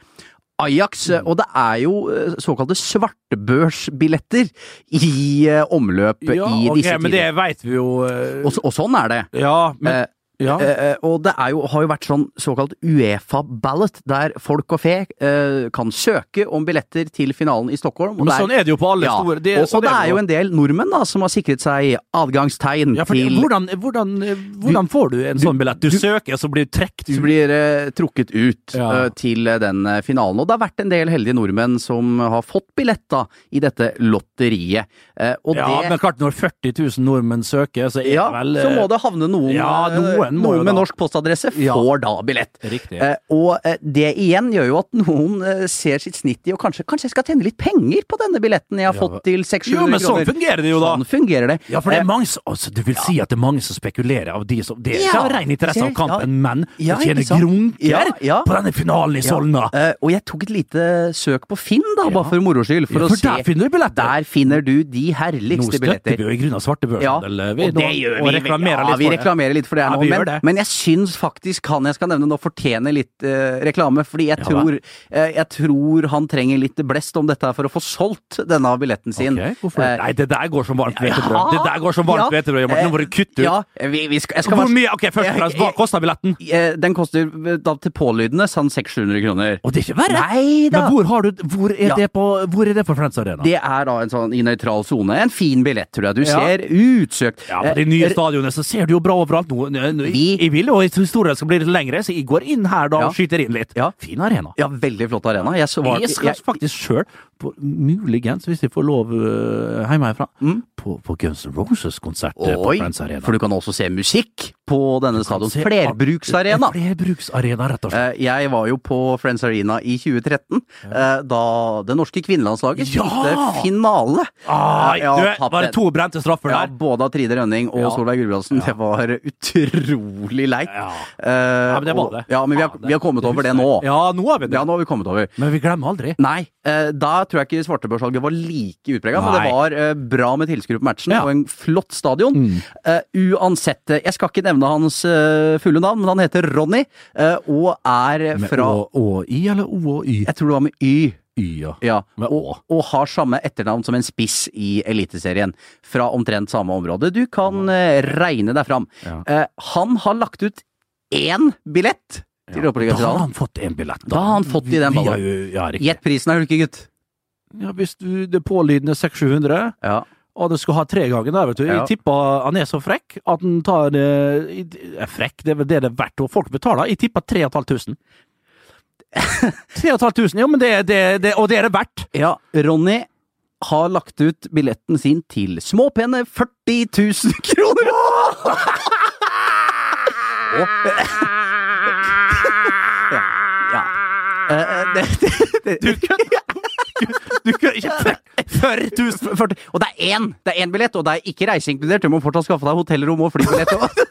Speaker 2: Ajax,
Speaker 3: Mm.
Speaker 2: eh, og det er jo eh, såkalte svartebørsbilletter i eh, omløp
Speaker 3: Ja,
Speaker 2: i
Speaker 3: ok,
Speaker 2: disse
Speaker 3: men det
Speaker 2: tider.
Speaker 3: veit vi jo. eh,
Speaker 2: Og, så- og sånn er det.
Speaker 3: ja, men
Speaker 2: Eh,
Speaker 3: ja.
Speaker 2: Eh, eh, og det er jo, har jo vært sånn såkalt Uefa-ballot, der folk og fe eh, kan søke om billetter til finalen i Stockholm. Og
Speaker 3: Men
Speaker 2: det er-
Speaker 3: sånn er det jo på alle
Speaker 2: ja,
Speaker 3: store det,
Speaker 2: og,
Speaker 3: sånn
Speaker 2: og det er jo
Speaker 3: jo.
Speaker 2: en del nordmenn da, som har sikret seg adgangstegn
Speaker 3: ja, for
Speaker 2: til
Speaker 3: hvordan, hvordan, eh, hvordan får du en sånn billett? Du, søker, så blir du trukket
Speaker 2: Så
Speaker 3: ut.
Speaker 2: blir eh, trukket ut
Speaker 3: Ja.
Speaker 2: eh, til eh, den eh, finalen. Og det har vært en del heldige nordmenn som har fått billett da, i dette lotteriet. Eh, og
Speaker 3: Ja,
Speaker 2: det,
Speaker 3: men klart, når 40 000 nordmenn søker, så er
Speaker 2: ja,
Speaker 3: det vel
Speaker 2: så
Speaker 3: eh,
Speaker 2: må det havne noen,
Speaker 3: ja,
Speaker 2: eh,
Speaker 3: noen må jo
Speaker 2: med
Speaker 3: da.
Speaker 2: norsk postadresse
Speaker 3: Ja.
Speaker 2: får da billett.
Speaker 3: Riktig.
Speaker 2: Eh, og eh, det igjen gjør jo at noen eh, ser sitt snitt i og kanskje, kanskje jeg skal tjene litt penger på denne billetten jeg har
Speaker 3: Ja,
Speaker 2: fått til
Speaker 3: Jo,
Speaker 2: 600
Speaker 3: men sånn
Speaker 2: kroner.
Speaker 3: fungerer det jo, da.
Speaker 2: Sånn fungerer det.
Speaker 3: Ja, for det
Speaker 2: Eh,
Speaker 3: er mange som, altså, Du vil si at det er mange som spekulerer av de som Det er
Speaker 2: Ja,
Speaker 3: ikke av ren interesse av
Speaker 2: selv, ja.
Speaker 3: kampen, men
Speaker 2: Ja,
Speaker 3: som tjener
Speaker 2: ikke sant?
Speaker 3: grunker
Speaker 2: Ja, ja.
Speaker 3: på denne finalen i Solna. Ja,
Speaker 2: Eh, og jeg tok et lite søk på Finn, da, bare
Speaker 3: Ja.
Speaker 2: for moro skyld. For,
Speaker 3: For,
Speaker 2: å se.
Speaker 3: der finner du billetter!
Speaker 2: Der finner du de
Speaker 3: Nå
Speaker 2: herligste
Speaker 3: støtter
Speaker 2: billetter.
Speaker 3: vi jo i grunnen svartebørsen.
Speaker 2: og det gjør vi.
Speaker 3: Og reklamerer
Speaker 2: ja,
Speaker 3: litt
Speaker 2: vi
Speaker 3: for det.
Speaker 2: reklamerer litt for det.
Speaker 3: Ja,
Speaker 2: her nå,
Speaker 3: vi gjør
Speaker 2: men,
Speaker 3: det.
Speaker 2: men jeg syns faktisk han jeg skal nevne nå, fortjener litt eh, reklame. Fordi jeg
Speaker 3: Ja,
Speaker 2: tror, eh, jeg tror han trenger litt blest om dette her for å få solgt denne billetten sin.
Speaker 3: Ok, hvorfor det?
Speaker 2: Eh,
Speaker 3: Nei, det der går som varmt hvetebrød.
Speaker 2: ja,
Speaker 3: Det der går som varmt
Speaker 2: ja,
Speaker 3: hvetebrød. Morten.
Speaker 2: eh,
Speaker 3: Nå må du kutte ut.
Speaker 2: Ja, vi, vi skal, jeg skal
Speaker 3: Hvor
Speaker 2: være-
Speaker 3: mye? Ok, først og fremst, hva kosta billetten?
Speaker 2: Eh, Den koster eh, da til pålydende sånn 600-700 kroner.
Speaker 3: Og det er ikke verre!
Speaker 2: Nei da!
Speaker 3: Men hvor, har du, hvor, er
Speaker 2: Ja.
Speaker 3: det på, hvor er det på Friends Arena?
Speaker 2: Det er da en sånn i nøytral sone. En fin billett, tror jeg. Du
Speaker 3: Ja.
Speaker 2: ser utsøkt.
Speaker 3: Ja, på de nye stadionene så ser du jo bra overalt nå. Nå- nå-
Speaker 2: Eh, Vi-
Speaker 3: Jeg vil jo at historien skal bli litt lengre, så jeg går inn her da
Speaker 2: Ja.
Speaker 3: og skyter inn litt.
Speaker 2: Ja.
Speaker 3: Fin arena.
Speaker 2: Ja, veldig flott arena. Jeg, så var,
Speaker 3: Jeg skal
Speaker 2: jeg,
Speaker 3: faktisk sjøl, muligens hvis jeg får lov øh, hjemmefra, på, på Guns N' Roses-konsert øh, på
Speaker 2: Mm. Oi,
Speaker 3: Friends Arena.
Speaker 2: for du kan også se musikk på denne
Speaker 3: Kan
Speaker 2: stadion.
Speaker 3: se-
Speaker 2: Flerbruksarena.
Speaker 3: En Flerbruksarena, rett og slett.
Speaker 2: Eh, Jeg var jo på Friends Arena i 2013, eh, da det norske kvinnelandslaget
Speaker 3: Ja!
Speaker 2: spilte finale.
Speaker 3: Ai,
Speaker 2: Eh, ja,
Speaker 3: du,
Speaker 2: tapt
Speaker 3: var
Speaker 2: den.
Speaker 3: det to brente straffer
Speaker 2: Ja,
Speaker 3: der?
Speaker 2: både av Tride Rønning og
Speaker 3: Ja.
Speaker 2: Solveig Gulbrandsen. Det var utrolig leit.
Speaker 3: Ja.
Speaker 2: Eh,
Speaker 3: Ja, men det var
Speaker 2: og-
Speaker 3: det.
Speaker 2: Ja, men vi har, vi har kommet over det nå.
Speaker 3: Ja, nå har vi det.
Speaker 2: Ja, nå har vi kommet over.
Speaker 3: Men vi glemmer aldri.
Speaker 2: Nei, eh, da tror jeg ikke svartebørssalget var like utprega, men det
Speaker 3: Nei.
Speaker 2: var eh, bra med tilskuere på matchen
Speaker 3: Ja. Mm.
Speaker 2: og en flott stadion. Eh, uansett, eh, jeg skal ikke nevne hans eh, fulle navn, men han heter Ronny eh, og er
Speaker 3: Med
Speaker 2: fra
Speaker 3: Å og I, eller O og Y?
Speaker 2: Jeg tror det var med Y.
Speaker 3: Y, ja.
Speaker 2: Ja,
Speaker 3: Med
Speaker 2: og, og har samme etternavn som en spiss i Eliteserien. Fra omtrent samme område. Du kan eh, regne deg fram.
Speaker 3: Ja.
Speaker 2: Eh, han har lagt ut én billett til
Speaker 3: Ja. Da har
Speaker 2: Europaligafinalen.
Speaker 3: han fått en billett.
Speaker 2: Da har han fått i den
Speaker 3: Vi- vi
Speaker 2: ballen.
Speaker 3: har jo- Ja, riktig.
Speaker 2: Gjett prisen, er du ikke, gutt?
Speaker 3: Ja, hvis du, det pålydende 6700,
Speaker 2: Ja.
Speaker 3: Og det skulle ha tre ganger, da, vet du.
Speaker 2: Ja.
Speaker 3: Jeg tippa han er så frekk at han tar eh, i- eh, Frekk, det er vel det det er verdt, og folk betaler. Jeg tippa 3500. 3500, jo, men det, det, det, og det er det verdt.
Speaker 2: Ja, Ronny har lagt ut billetten sin til småpene 40 000 kroner! ja. ja. Eh, det, det, det,
Speaker 3: Du kødder! Du kødder ikke frekk.
Speaker 2: 40 000 40, Og det er én! Det er én billett, og det er ikke reise inkludert. Du må fortsatt skaffe deg hotellrom og flybillett og-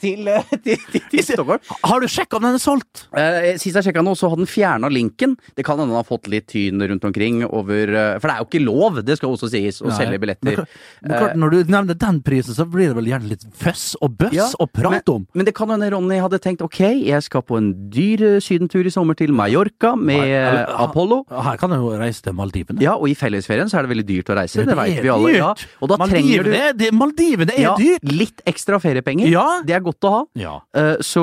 Speaker 2: til, eh, til, til, til Stockholm.
Speaker 3: Har du sjekka om den er solgt?
Speaker 2: Eh, sist jeg sjekka nå, så hadde den fjerna linken. Det kan hende den har fått litt tyn rundt omkring over eh, For det er jo ikke lov, det skal også sies, å
Speaker 3: Nei.
Speaker 2: selge billetter.
Speaker 3: Men,
Speaker 2: Eh,
Speaker 3: kl- men klart, når du nevner den prisen, så blir det vel gjerne litt føss og bøss
Speaker 2: Ja,
Speaker 3: og prat om.
Speaker 2: Men det kan hende Ronny hadde tenkt ok, jeg skal på en dyr eh, sydentur i sommer til Mallorca med
Speaker 3: Nei,
Speaker 2: eh,
Speaker 3: eller-
Speaker 2: Apollo.
Speaker 3: Her kan du jo reise til Maldivene.
Speaker 2: Ja, og i fellesferien så er det veldig dyrt å reise, det, vet
Speaker 3: er
Speaker 2: vi alle.
Speaker 3: dyrt.
Speaker 2: Ja, og da trenger du
Speaker 3: Maldivene, er- det, Maldivene er
Speaker 2: ja,
Speaker 3: dyrt!
Speaker 2: litt ekstra feriepenger.
Speaker 3: Ja.
Speaker 2: Det er godt å ha.
Speaker 3: Ja.
Speaker 2: Eh, så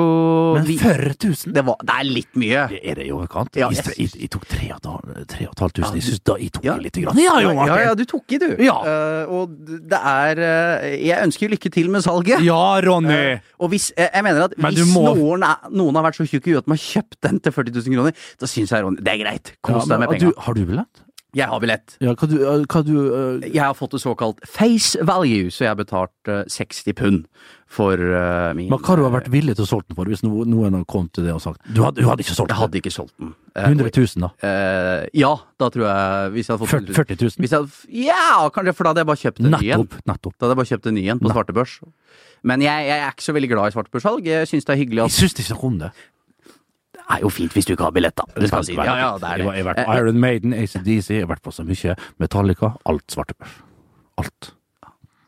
Speaker 3: Men
Speaker 2: vi,
Speaker 3: 40 000?
Speaker 2: det, var, det er litt mye.
Speaker 3: Det er det i overkant.
Speaker 2: Ja,
Speaker 3: jeg,
Speaker 2: jeg
Speaker 3: jeg, jeg tok 3500. Jeg synes da jeg tok
Speaker 2: Ja.
Speaker 3: det litt. Grann. Ja, jo,
Speaker 2: ja,
Speaker 3: Martin!
Speaker 2: ja, du tok i, du.
Speaker 3: Ja.
Speaker 2: Eh, og det er eh, Jeg ønsker lykke til med salget.
Speaker 3: Ja, Ronny!
Speaker 2: Og hvis, eh, jeg mener at
Speaker 3: Men du
Speaker 2: hvis
Speaker 3: må-
Speaker 2: noen, er, noen har vært så tjukke i huet at de har kjøpt den til 40 000 kroner, da syns jeg Ronny, det er greit. Kos
Speaker 3: Ja,
Speaker 2: deg med
Speaker 3: men,
Speaker 2: penga.
Speaker 3: du- Har du billett?
Speaker 2: Jeg har billett.
Speaker 3: Ja, hva du, eh, hva du eh,
Speaker 2: Jeg har fått det såkalt face value, så jeg har betalt eh, 60 pund for eh, min
Speaker 3: Men hva har du vært villig til å solge den for, hvis no- noen hadde kommet til det og sagt Du hadde, du hadde ikke solgt
Speaker 2: Jeg
Speaker 3: den?
Speaker 2: hadde ikke solgt den. Eh,
Speaker 3: 100 000, da?
Speaker 2: eh, ja, da tror jeg Hvis jeg hadde fått
Speaker 3: 40 000?
Speaker 2: Hvis jeg hadde, ja, kanskje, for da hadde jeg bare kjøpt en ny en.
Speaker 3: Nettopp. nettopp.
Speaker 2: Da hadde jeg bare kjøpt en ny en på svartebørs. Men jeg, jeg er ikke så veldig glad i svartebørssalg. Jeg syns det er hyggelig
Speaker 3: Jeg
Speaker 2: at
Speaker 3: syns ikke noe om det.
Speaker 2: Det er jo fint hvis du ikke har billett, da. Det skal sies. Ja, ja, det Eh, er
Speaker 3: Jeg har- Jeg
Speaker 2: det.
Speaker 3: har vært på Iron Maiden, ACDC, jeg har vært på så mye. Metallica, alt svartebørs. Alt.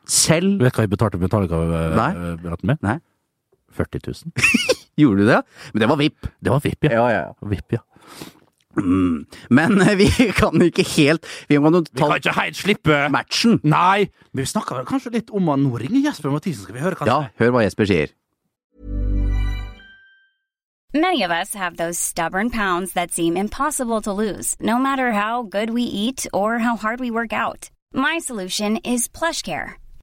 Speaker 2: Selv
Speaker 3: Vet du hva jeg betalte
Speaker 2: Nei.
Speaker 3: Metallica-billetten min?
Speaker 2: Nei.
Speaker 3: 40 000.
Speaker 2: gjorde du det, men det var VIP.
Speaker 3: Det var VIP, ja.
Speaker 2: Ja, ja, ja.
Speaker 3: VIP, ja.
Speaker 2: Mm. Men eh, vi kan ikke helt Vi må jo ta
Speaker 3: ikke helt slippe
Speaker 2: matchen.
Speaker 3: Nei, men vi snakka vel kanskje litt om han. Nå ringer Jesper Mathisen, skal vi høre hva han
Speaker 2: Ja, hør hva Jesper sier.
Speaker 4: Many of us have those stubborn pounds that seem impossible to lose, no matter how good we eat or how hard we work out. My solution is PlushCare.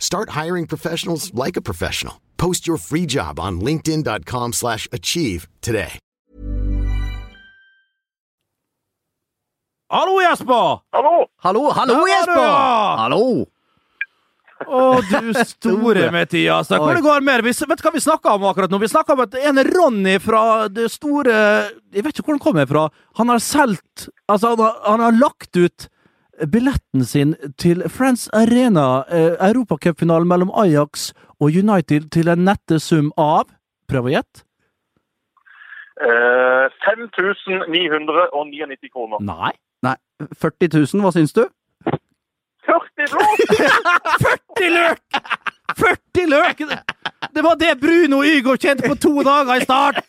Speaker 5: Start hiring professionals like a professional. Post your free job on linkedin.com/achieve slash achieve today.
Speaker 3: Hallo, Jesper!
Speaker 6: Hallo!
Speaker 2: Hallo, hallo,
Speaker 3: Der var
Speaker 2: Jesper!
Speaker 3: du!
Speaker 2: Hallo!
Speaker 3: Å, du store Mathias. Da, Hvordan går det med det? Vi s- Vet du hva vi snakka om akkurat nå? Vi snakka om at en Ronny fra det store Jeg vet ikke hvor han kommer fra. Han har solgt Altså, han har, han har lagt ut billetten sin til Friends Arena, eh, europacupfinalen mellom Ajax og United, til en nette sum av Prøv å gjette.
Speaker 6: Eh, 5999 kroner.
Speaker 3: Nei.
Speaker 2: Nei, 40 000, hva syns du?
Speaker 6: 40 blå!
Speaker 3: 40 løk! 40 løk! Det var det Bruno Ygo kjente på to dager i start!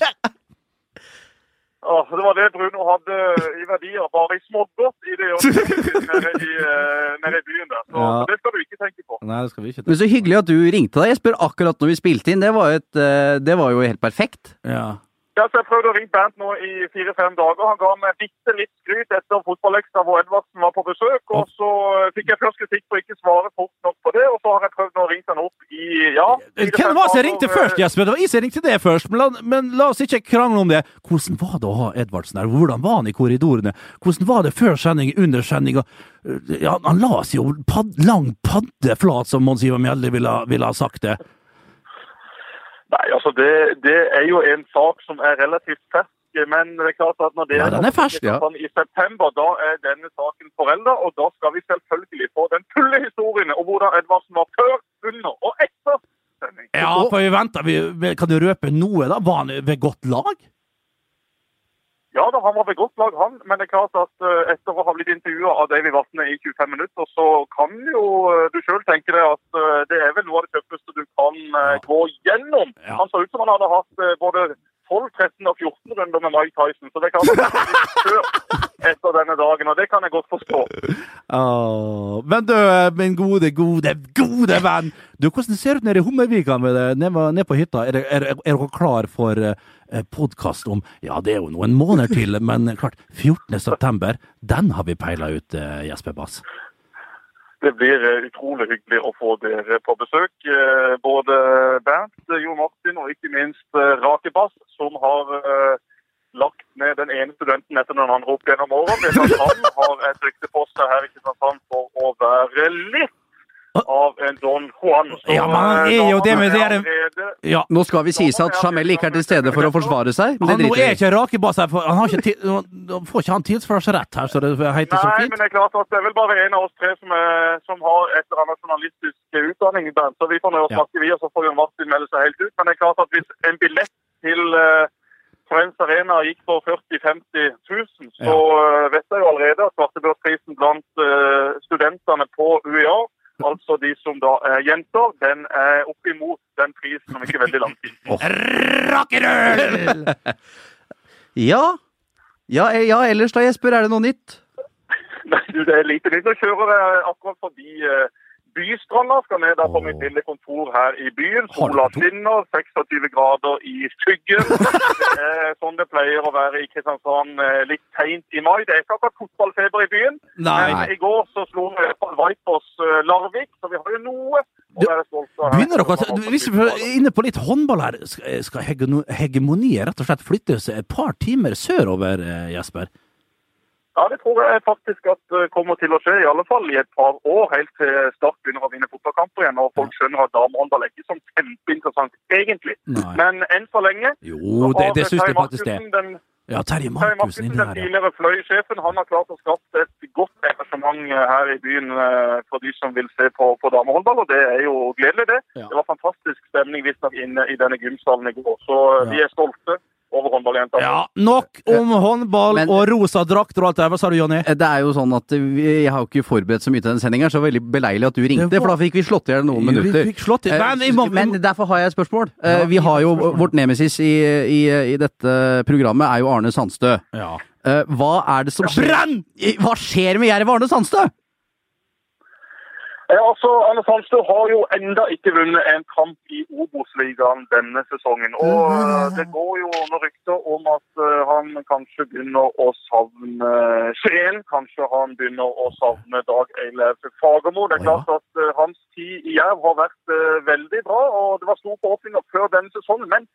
Speaker 6: Åh, det var det Bruno hadde i verdier, bare i smågodt i det øyeblikket nede, i, eh, nede i byen der. Så
Speaker 3: Ja.
Speaker 6: det skal du ikke tenke på.
Speaker 3: Nei, det skal vi ikke
Speaker 2: Men Så hyggelig at du ringte deg, Jesper, akkurat når vi spilte inn. Det var, jo et, eh, det var jo helt perfekt.
Speaker 3: Ja.
Speaker 6: Ja, så jeg prøvde å ringe Bernt nå i fire-fem dager. Han ga meg bitte litt skryt etter fotballøkta hvor Edvardsen var på besøk. Og så eh, fikk jeg først kritikk for ikke å svare fort nok på det, og så har jeg prøvd å ringe han opp i ja,
Speaker 3: Hvem var det som ringte først, Jesper? Det var jeg som ringte deg først, men la, men la oss ikke krangle om det. Hvordan var det å ha Edvardsen her? Hvordan var han i korridorene? Hvordan var det før sending, under sending? og- eh, Ja, han la seg jo pad, lang paddeflat, som Mons Ivar Mjelde ville, ha- ville ha sagt det.
Speaker 6: Nei, altså det, det er jo en sak som er relativt fersk. Men det er klart at når dere
Speaker 3: Ja, den er fersk, ja.
Speaker 6: i september, da er denne saken forelda. Og da skal vi selvfølgelig få den fulle historien om hvordan Edvardsen var før, under og etter sending.
Speaker 3: Ja, for vi venter. Vi, kan du røpe noe, da? Var han ved godt lag?
Speaker 6: Ja da, han var ved godt lag, han. Men det er klart at eh, etter å ha blitt intervjua av Davy Vatne i 25 minutter, så kan jo eh, du sjøl tenke deg at eh, det er vel noe av det tøffeste du kan eh, gå gjennom.
Speaker 3: Ja.
Speaker 6: Han så ut som han hadde hatt eh, både 12, 13 og 14 runder med Mike Tyson. Så det kan han faktisk før etter denne dagen, og det kan jeg godt forstå.
Speaker 3: Åh, men du, eh, min gode, gode, gode venn. Du, hvordan ser det ut nede i Hummervika med det, nede, nede på hytta? Er, det- er, er dere klar for eh, podkast om Ja, det er jo noen måneder til, men klart, 14. september, den har vi peila ut, eh, Jesper Bass.
Speaker 6: Det blir eh, utrolig hyggelig å få dere på besøk. Eh, Både Bernt, eh, Jo Martin og ikke minst eh, Rake Bass, som har eh, lagt ned den ene studenten etter den andre opp gjennom årene. Det er sant, Han har et rykte på seg her i Kristiansand for å være litt av en Don Juan. Så,
Speaker 3: Ja, men han
Speaker 6: eh,
Speaker 3: er jo
Speaker 6: da
Speaker 3: det, men
Speaker 6: er
Speaker 3: det er en-
Speaker 6: allerede-
Speaker 3: Ja.
Speaker 2: Nå skal vi sies at Jamel ikke er til stede for å forsvare seg, men
Speaker 3: Han
Speaker 2: det
Speaker 3: nå er
Speaker 2: driter vi i.
Speaker 3: ikke rakebass her, for han har ikke tid, han- han får ikke han tidsførselsrett her, så det heter så
Speaker 6: Nei, men
Speaker 3: fint.
Speaker 6: det er klart at det er vel bare en av oss tre som, er, som har et eller annet journalistisk eh, utdanning. Bernt, Så vi får nå
Speaker 3: Ja.
Speaker 6: snakke vi, og så får jo Martin melde seg helt ut. Men det er klart at hvis en billett til uh, Friends Arena gikk for 40 000-50 000, så eh, vet jeg jo allerede at svartebørsprisen blant eh, studentene på UiA Altså de som da er jenter, den er oppimot den prisen om ikke veldig lang tid.
Speaker 3: Rakkerøl!
Speaker 2: Ja. Ja, eh, ja, ellers da, Jesper, er det noe nytt?
Speaker 6: Nei, du, det er lite nytt. Nå kjører jeg akkurat forbi eh, Bystranda. Skal ned der på mitt lille kontor her i byen. Sola skinner, 26 grader i skyggen. Det er sånn det pleier å være i Kristiansand eh, litt seint i mai. Det er ikke akkurat fotballfeber i byen.
Speaker 3: Nei.
Speaker 6: Men i går så slo vi på Vipers eh, Larvik, så vi har jo noe
Speaker 3: Du,
Speaker 6: å være stolt av. her.
Speaker 3: Begynner dere å- Hvis vi er inne på litt håndball her, skal skal hegeno- hegemoniet rett og slett flyttes et par timer sørover, eh, Jesper?
Speaker 6: Ja, det tror jeg faktisk at eh, kommer til å skje, i alle fall i et par år, helt til Start begynner å vinne fotballkamper igjen, og folk skjønner at damehåndball er ikke sånn kjempeinteressant, egentlig.
Speaker 3: Nei.
Speaker 6: Men enn så lenge så
Speaker 3: Jo, det,
Speaker 6: har
Speaker 3: det syns
Speaker 6: Terje
Speaker 3: jeg faktisk det.
Speaker 6: Markussen, Den,
Speaker 3: Ja, Terje
Speaker 6: Terje
Speaker 3: Markussen
Speaker 6: Markussen,
Speaker 3: inni
Speaker 6: den
Speaker 3: her, ja.
Speaker 6: tidligere fløysjefen, han har klart å skape et godt engasjement eh, her i byen eh, for de som vil se på, på damehåndball, og det er jo gledelig, det.
Speaker 3: Ja.
Speaker 6: Det var fantastisk stemning visstnok inne i denne gymsalen i går, så eh, vi er stolte over håndballjentene.
Speaker 3: Ja, nok om håndball
Speaker 2: Men-
Speaker 3: og rosa drakter og alt det der. Hva sa du, Jonny?
Speaker 2: Eh, Det er jo sånn at eh, vi- jeg har jo ikke forberedt så mye til den sendinga, så det var veldig beleilig at du ringte,
Speaker 3: Det
Speaker 2: for
Speaker 3: var-
Speaker 2: da fikk vi slått i hjel noen
Speaker 3: Vi
Speaker 2: minutter.
Speaker 3: fikk slått i-
Speaker 2: Eh,
Speaker 3: Men vi må- vi
Speaker 2: Men
Speaker 3: må-
Speaker 2: derfor har jeg et spørsmål. Eh,
Speaker 3: Ja,
Speaker 2: Vi har jo
Speaker 3: spørsmål.
Speaker 2: vårt nemesis i, i, i dette programmet, er jo Arne Sandstø.
Speaker 3: Ja.
Speaker 2: Eh, Hva er det som skjer
Speaker 3: Brenn!
Speaker 2: I- Hva skjer med Jerv Arne Sandstø?
Speaker 6: Ja, altså, Arne Sandstø har jo enda ikke vunnet en kamp i Obos-ligaen denne sesongen. Og eh, det går jo noen rykter om at eh, han kanskje begynner å savne Skien. Kanskje han begynner å savne Dag Eilef Fagermo. Det
Speaker 3: Å,
Speaker 6: er
Speaker 3: ja.
Speaker 6: klart at eh, hans tid i Jerv har vært eh, veldig bra, og det var store forhåpninger før denne sesongen. men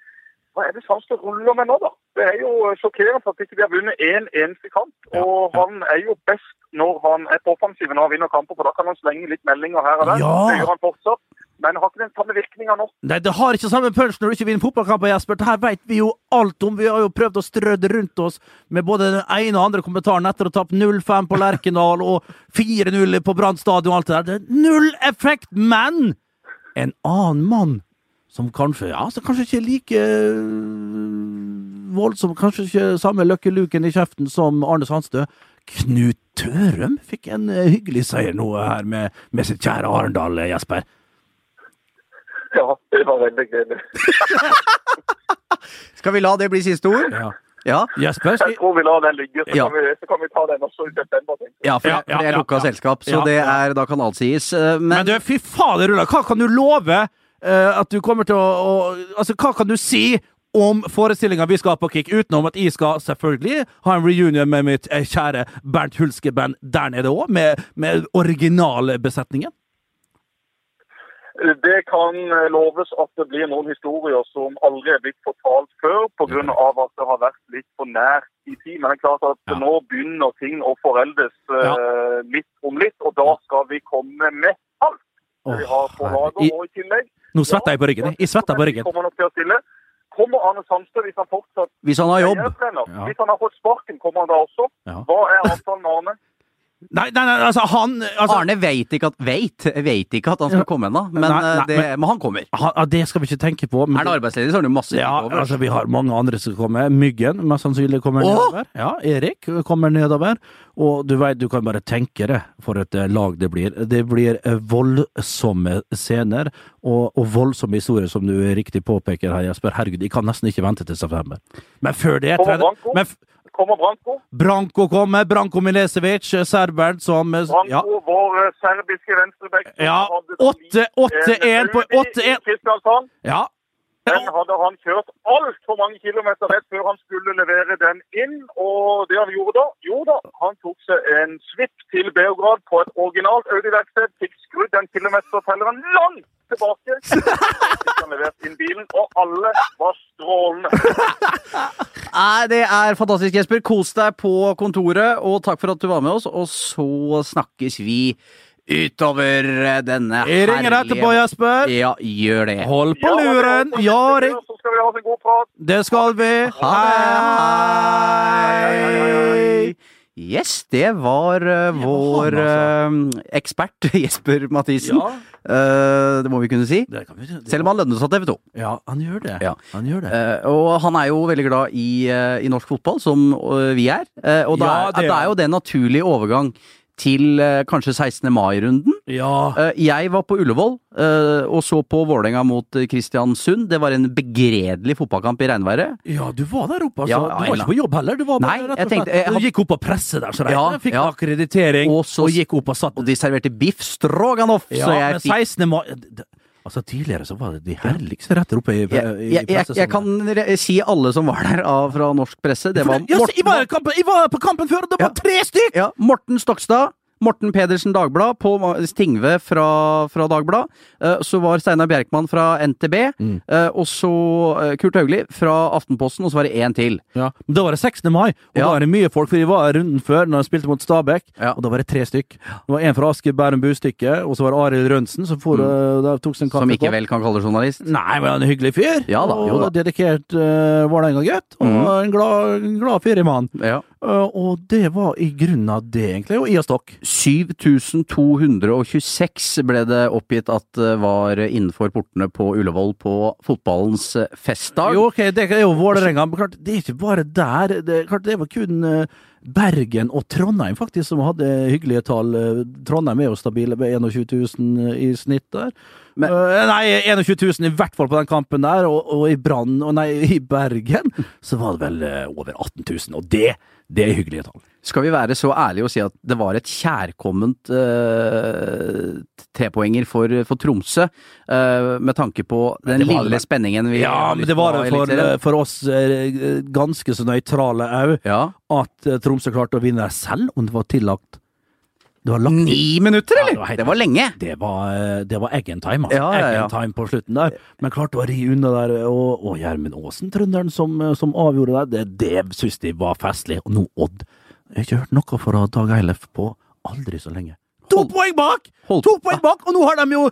Speaker 6: hva er det Sandstø ruller med nå, da? Det er jo sjokkerende at ikke vi har vunnet én eneste kamp. Og han er jo best når han er på offensiven og vinner kamper, for da kan han slenge litt meldinger her og der.
Speaker 3: Ja.
Speaker 6: Det gjør han fortsatt. Men har ikke den samme virkninga nå.
Speaker 3: Nei, det har ikke samme punch når du ikke vinner fotballkamper, Jesper. Det her veit vi jo alt om. Vi har jo prøvd å strø det rundt oss med både den ene og andre kommentaren etter å ha tapt 0-5 på Lerkendal og 4-0 på Brann stadion og alt det der. Det er null effekt, men en annen mann som kanskje Ja, som kanskje ikke er like øh, voldsom, kanskje ikke samme Lucky Luken i kjeften som Arne Sandstø. Knut Tørum fikk en eh, hyggelig seier nå her med, med sitt kjære Arendal, eh, Jesper.
Speaker 6: Ja, det var veldig gledelig.
Speaker 2: Skal vi la det bli siste ord?
Speaker 3: Ja.
Speaker 2: Ja,
Speaker 3: Jesper,
Speaker 6: Jeg tror vi lar den ligge, så,
Speaker 2: Ja.
Speaker 6: kan, vi, så kan vi ta den også i september. tenker jeg.
Speaker 2: ja for
Speaker 3: Ja, ja,
Speaker 2: det er
Speaker 3: ja,
Speaker 2: lukka
Speaker 3: ja.
Speaker 2: selskap, så
Speaker 3: Ja.
Speaker 2: det er, da kan alt sies. Eh, Men,
Speaker 3: Men du, fy fader, Ulla, hva kan du love eh, at du kommer til å, å Altså, hva kan du si om forestillinga vi skal på Kick, utenom at jeg skal selvfølgelig ha en reunion med mitt eh, kjære Bernt Hulske-band der nede òg, med, med originalbesetningen?
Speaker 6: Det kan eh, loves at det blir noen historier som aldri er blitt fortalt før, pga. at det har vært litt for nært i tid. Men det er klart at
Speaker 7: Ja.
Speaker 6: nå begynner ting å foreldes eh, litt om litt, og da skal vi komme med alt det vi
Speaker 3: Åh,
Speaker 6: har på
Speaker 3: herre.
Speaker 6: lager
Speaker 3: I-
Speaker 6: nå i tillegg.
Speaker 3: Nå svetter jeg på ryggen. jeg. Jeg svetter på ryggen.
Speaker 6: Kommer nok til å stille. Kommer Arne Sandstø hvis han fortsatt
Speaker 2: hvis han har
Speaker 6: er
Speaker 2: jobb
Speaker 6: trener?
Speaker 3: Ja.
Speaker 6: Hvis han har fått sparken, kommer han da også?
Speaker 3: Ja.
Speaker 6: Hva er avtalen med Arne?
Speaker 3: Nei, nei, nei, altså, han altså,
Speaker 2: Arne veit ikke, at- vet, vet ikke at han skal komme ennå, men,
Speaker 3: Nei, nei,
Speaker 2: eh, det, men han kommer.
Speaker 3: han, ja, Det skal vi ikke tenke på. men-
Speaker 2: Er han arbeidsledig, så har han jo masse
Speaker 3: Ja,
Speaker 2: over.
Speaker 3: altså vi har mange andre som kommer. Myggen mest sannsynlig kommer
Speaker 2: Åh!
Speaker 3: nedover. Ja, Erik eh, kommer nedover. Og du vet, du kan bare tenke det for et eh, lag det blir. Det blir eh, voldsomme scener og, og voldsomme historier, som du riktig påpeker her, Jesper. Herregud, jeg kan nesten ikke vente til september. Men før det
Speaker 6: Kommer
Speaker 3: trener-
Speaker 6: Branko?
Speaker 3: Men f-
Speaker 6: Kommer Branko?
Speaker 3: Branko kommer, Branko Milesevic, eh, serberen som eh, s- ja.
Speaker 6: Branko, vår eh, serbiske venstrebekk som
Speaker 3: Ja,
Speaker 6: hadde
Speaker 3: 8 8-1 på
Speaker 6: Audi i
Speaker 3: 8-1.
Speaker 6: Kristiansand.
Speaker 3: Ja.
Speaker 6: Den hadde han kjørt altfor mange kilometer rett før han skulle levere den inn. Og det han gjorde da, jo da, han tok seg en svipp til Beograd på et originalt Audi-verksted. Fikk skrudd den kilometertelleren langt tilbake. Så Fikk han levert inn bilen, og alle var strålende.
Speaker 2: Nei, det er fantastisk, Jesper. Kos deg på kontoret, og takk for at du var med oss. Og så snakkes vi utover eh, denne
Speaker 3: Jeg ringer etterpå, Jesper.
Speaker 2: Ja, gjør det.
Speaker 3: Hold på luren. Ja, ring.
Speaker 6: Så skal vi ha oss en god prat.
Speaker 3: Det skal vi.
Speaker 2: Hei! Yes, det var eh, vår eh, ekspert Jesper Mathisen.
Speaker 3: altså. Ja.
Speaker 2: Eh, det må vi kunne si.
Speaker 3: Det kan vi- det-
Speaker 2: Selv om han lønnes av TV 2.
Speaker 3: Ja, han gjør det.
Speaker 2: Ja.
Speaker 3: Han gjør det.
Speaker 2: Eh, og han er jo veldig glad i, eh, i norsk fotball, som eh, vi er. Eh, og da,
Speaker 3: Ja,
Speaker 2: er,
Speaker 3: det er
Speaker 2: da er jo det en naturlig overgang til eh, kanskje 16. mai-runden.
Speaker 3: ja.
Speaker 2: Eh, jeg var på Ullevål eh, og så på Vålerenga mot eh, Kristiansund. Det var en begredelig fotballkamp i regnværet.
Speaker 3: ja, du var der oppe, altså.
Speaker 2: Ja,
Speaker 3: du var
Speaker 2: ja.
Speaker 3: ikke på jobb heller. Du var bare
Speaker 2: Nei,
Speaker 3: rett og
Speaker 2: jeg
Speaker 3: slett-
Speaker 2: tenkte- jeg har-
Speaker 3: Du gikk opp på presset der, så det
Speaker 2: Ja,
Speaker 3: fikk
Speaker 2: ja.
Speaker 3: akkreditering,
Speaker 2: Og
Speaker 3: og,
Speaker 2: så-
Speaker 3: gikk opp og satt
Speaker 2: Og de serverte biff stroganoff,
Speaker 3: Ja,
Speaker 2: så
Speaker 3: men
Speaker 2: jeg fikk
Speaker 3: 16. mai d- Altså, tidligere så var det de herligste retter oppe i, i,
Speaker 2: jeg,
Speaker 3: eh, i
Speaker 2: jeg, jeg,
Speaker 3: presset
Speaker 2: jeg
Speaker 3: som-
Speaker 2: kan re si alle som var der av, fra norsk presse. Det
Speaker 3: For
Speaker 2: var
Speaker 3: det- ja, så jeg, var i
Speaker 2: Morten,
Speaker 3: kampen, jeg var på kampen før, og det var
Speaker 2: Ja.
Speaker 3: tre stykk!
Speaker 2: ja, Morten Stokstad. Morten Pedersen Dagblad, Pål Ma- Stingve fra, fra Dagblad. eh, Så var Steinar Bjerkman fra NTB.
Speaker 3: Mm.
Speaker 2: eh, Og så eh, Kurt Haugli fra Aftenposten, og så var det én til.
Speaker 3: Ja, men Da var det 16. mai, og
Speaker 2: Ja.
Speaker 3: da var det mye folk, for de var runden før når de spilte mot Stabæk,
Speaker 2: Ja.
Speaker 3: og da var det tre stykk. Det var en fra Asker Bærum Bustykke, og så var det Arild Rønsen som for, eh, da tok sin
Speaker 2: Mm. Som ikke
Speaker 3: kaffekopp.
Speaker 2: vel kan kalles journalist.
Speaker 3: Nei, men han er en hyggelig fyr.
Speaker 2: Ja da, jo da.
Speaker 3: Og dedikert uh, Vålerenga-gutt. Og
Speaker 2: Mhm.
Speaker 3: en glad, en glad fyremann.
Speaker 2: Ja.
Speaker 3: Eh, og det var i grunnen av det, egentlig. Og i og stokk.
Speaker 2: 7226 ble det oppgitt at det var innenfor portene på Ullevål på fotballens eh, festdag.
Speaker 3: Jo, ok, det er jo Vålerenga, men klart, det er ikke bare der. Det, er klart, det var kun eh, Bergen og Trondheim faktisk som hadde hyggelige tall. Eh, Trondheim er jo stabile med 21 000 i snitt der.
Speaker 2: Men-
Speaker 3: Eh, nei, 21 000 i hvert fall på den kampen der, og, og i Brann og nei, i Bergen så var det vel eh, over 18 000, og det, det er hyggelige tall.
Speaker 2: Skal vi være så ærlige og si at det var et kjærkomment eh, trepoenger for, for Tromsø, eh, med tanke på den
Speaker 3: det var
Speaker 2: lille
Speaker 3: det.
Speaker 2: spenningen vi
Speaker 3: Ja,
Speaker 2: har
Speaker 3: men
Speaker 2: lyst
Speaker 3: det
Speaker 2: til å
Speaker 3: var
Speaker 2: ha i
Speaker 3: det for, eh,
Speaker 2: Eliteserien.
Speaker 3: for oss eh, ganske så nøytrale òg,
Speaker 2: ja.
Speaker 3: at eh, Tromsø klarte å vinne der selv om det var tillagt Det var lagt
Speaker 2: Ni
Speaker 3: Ja,
Speaker 2: minutter,
Speaker 3: det
Speaker 2: eller?!
Speaker 3: var helt-
Speaker 2: det, var lenge!
Speaker 3: Det var, eh, det var eggen time, altså.
Speaker 2: Ja, ja, ja.
Speaker 3: Eggen time på slutten der. Men klarte å ri unna der, og, og Gjermund Aasen, trønderen som, eh, som avgjorde der, det, det syns de var festlig. Og nå Odd. Jeg har ikke hørt noe fra Dag Eilef på aldri så lenge. To
Speaker 2: Hold-
Speaker 3: poeng bak!
Speaker 2: Hold-
Speaker 3: To poeng bak, og nå har de jo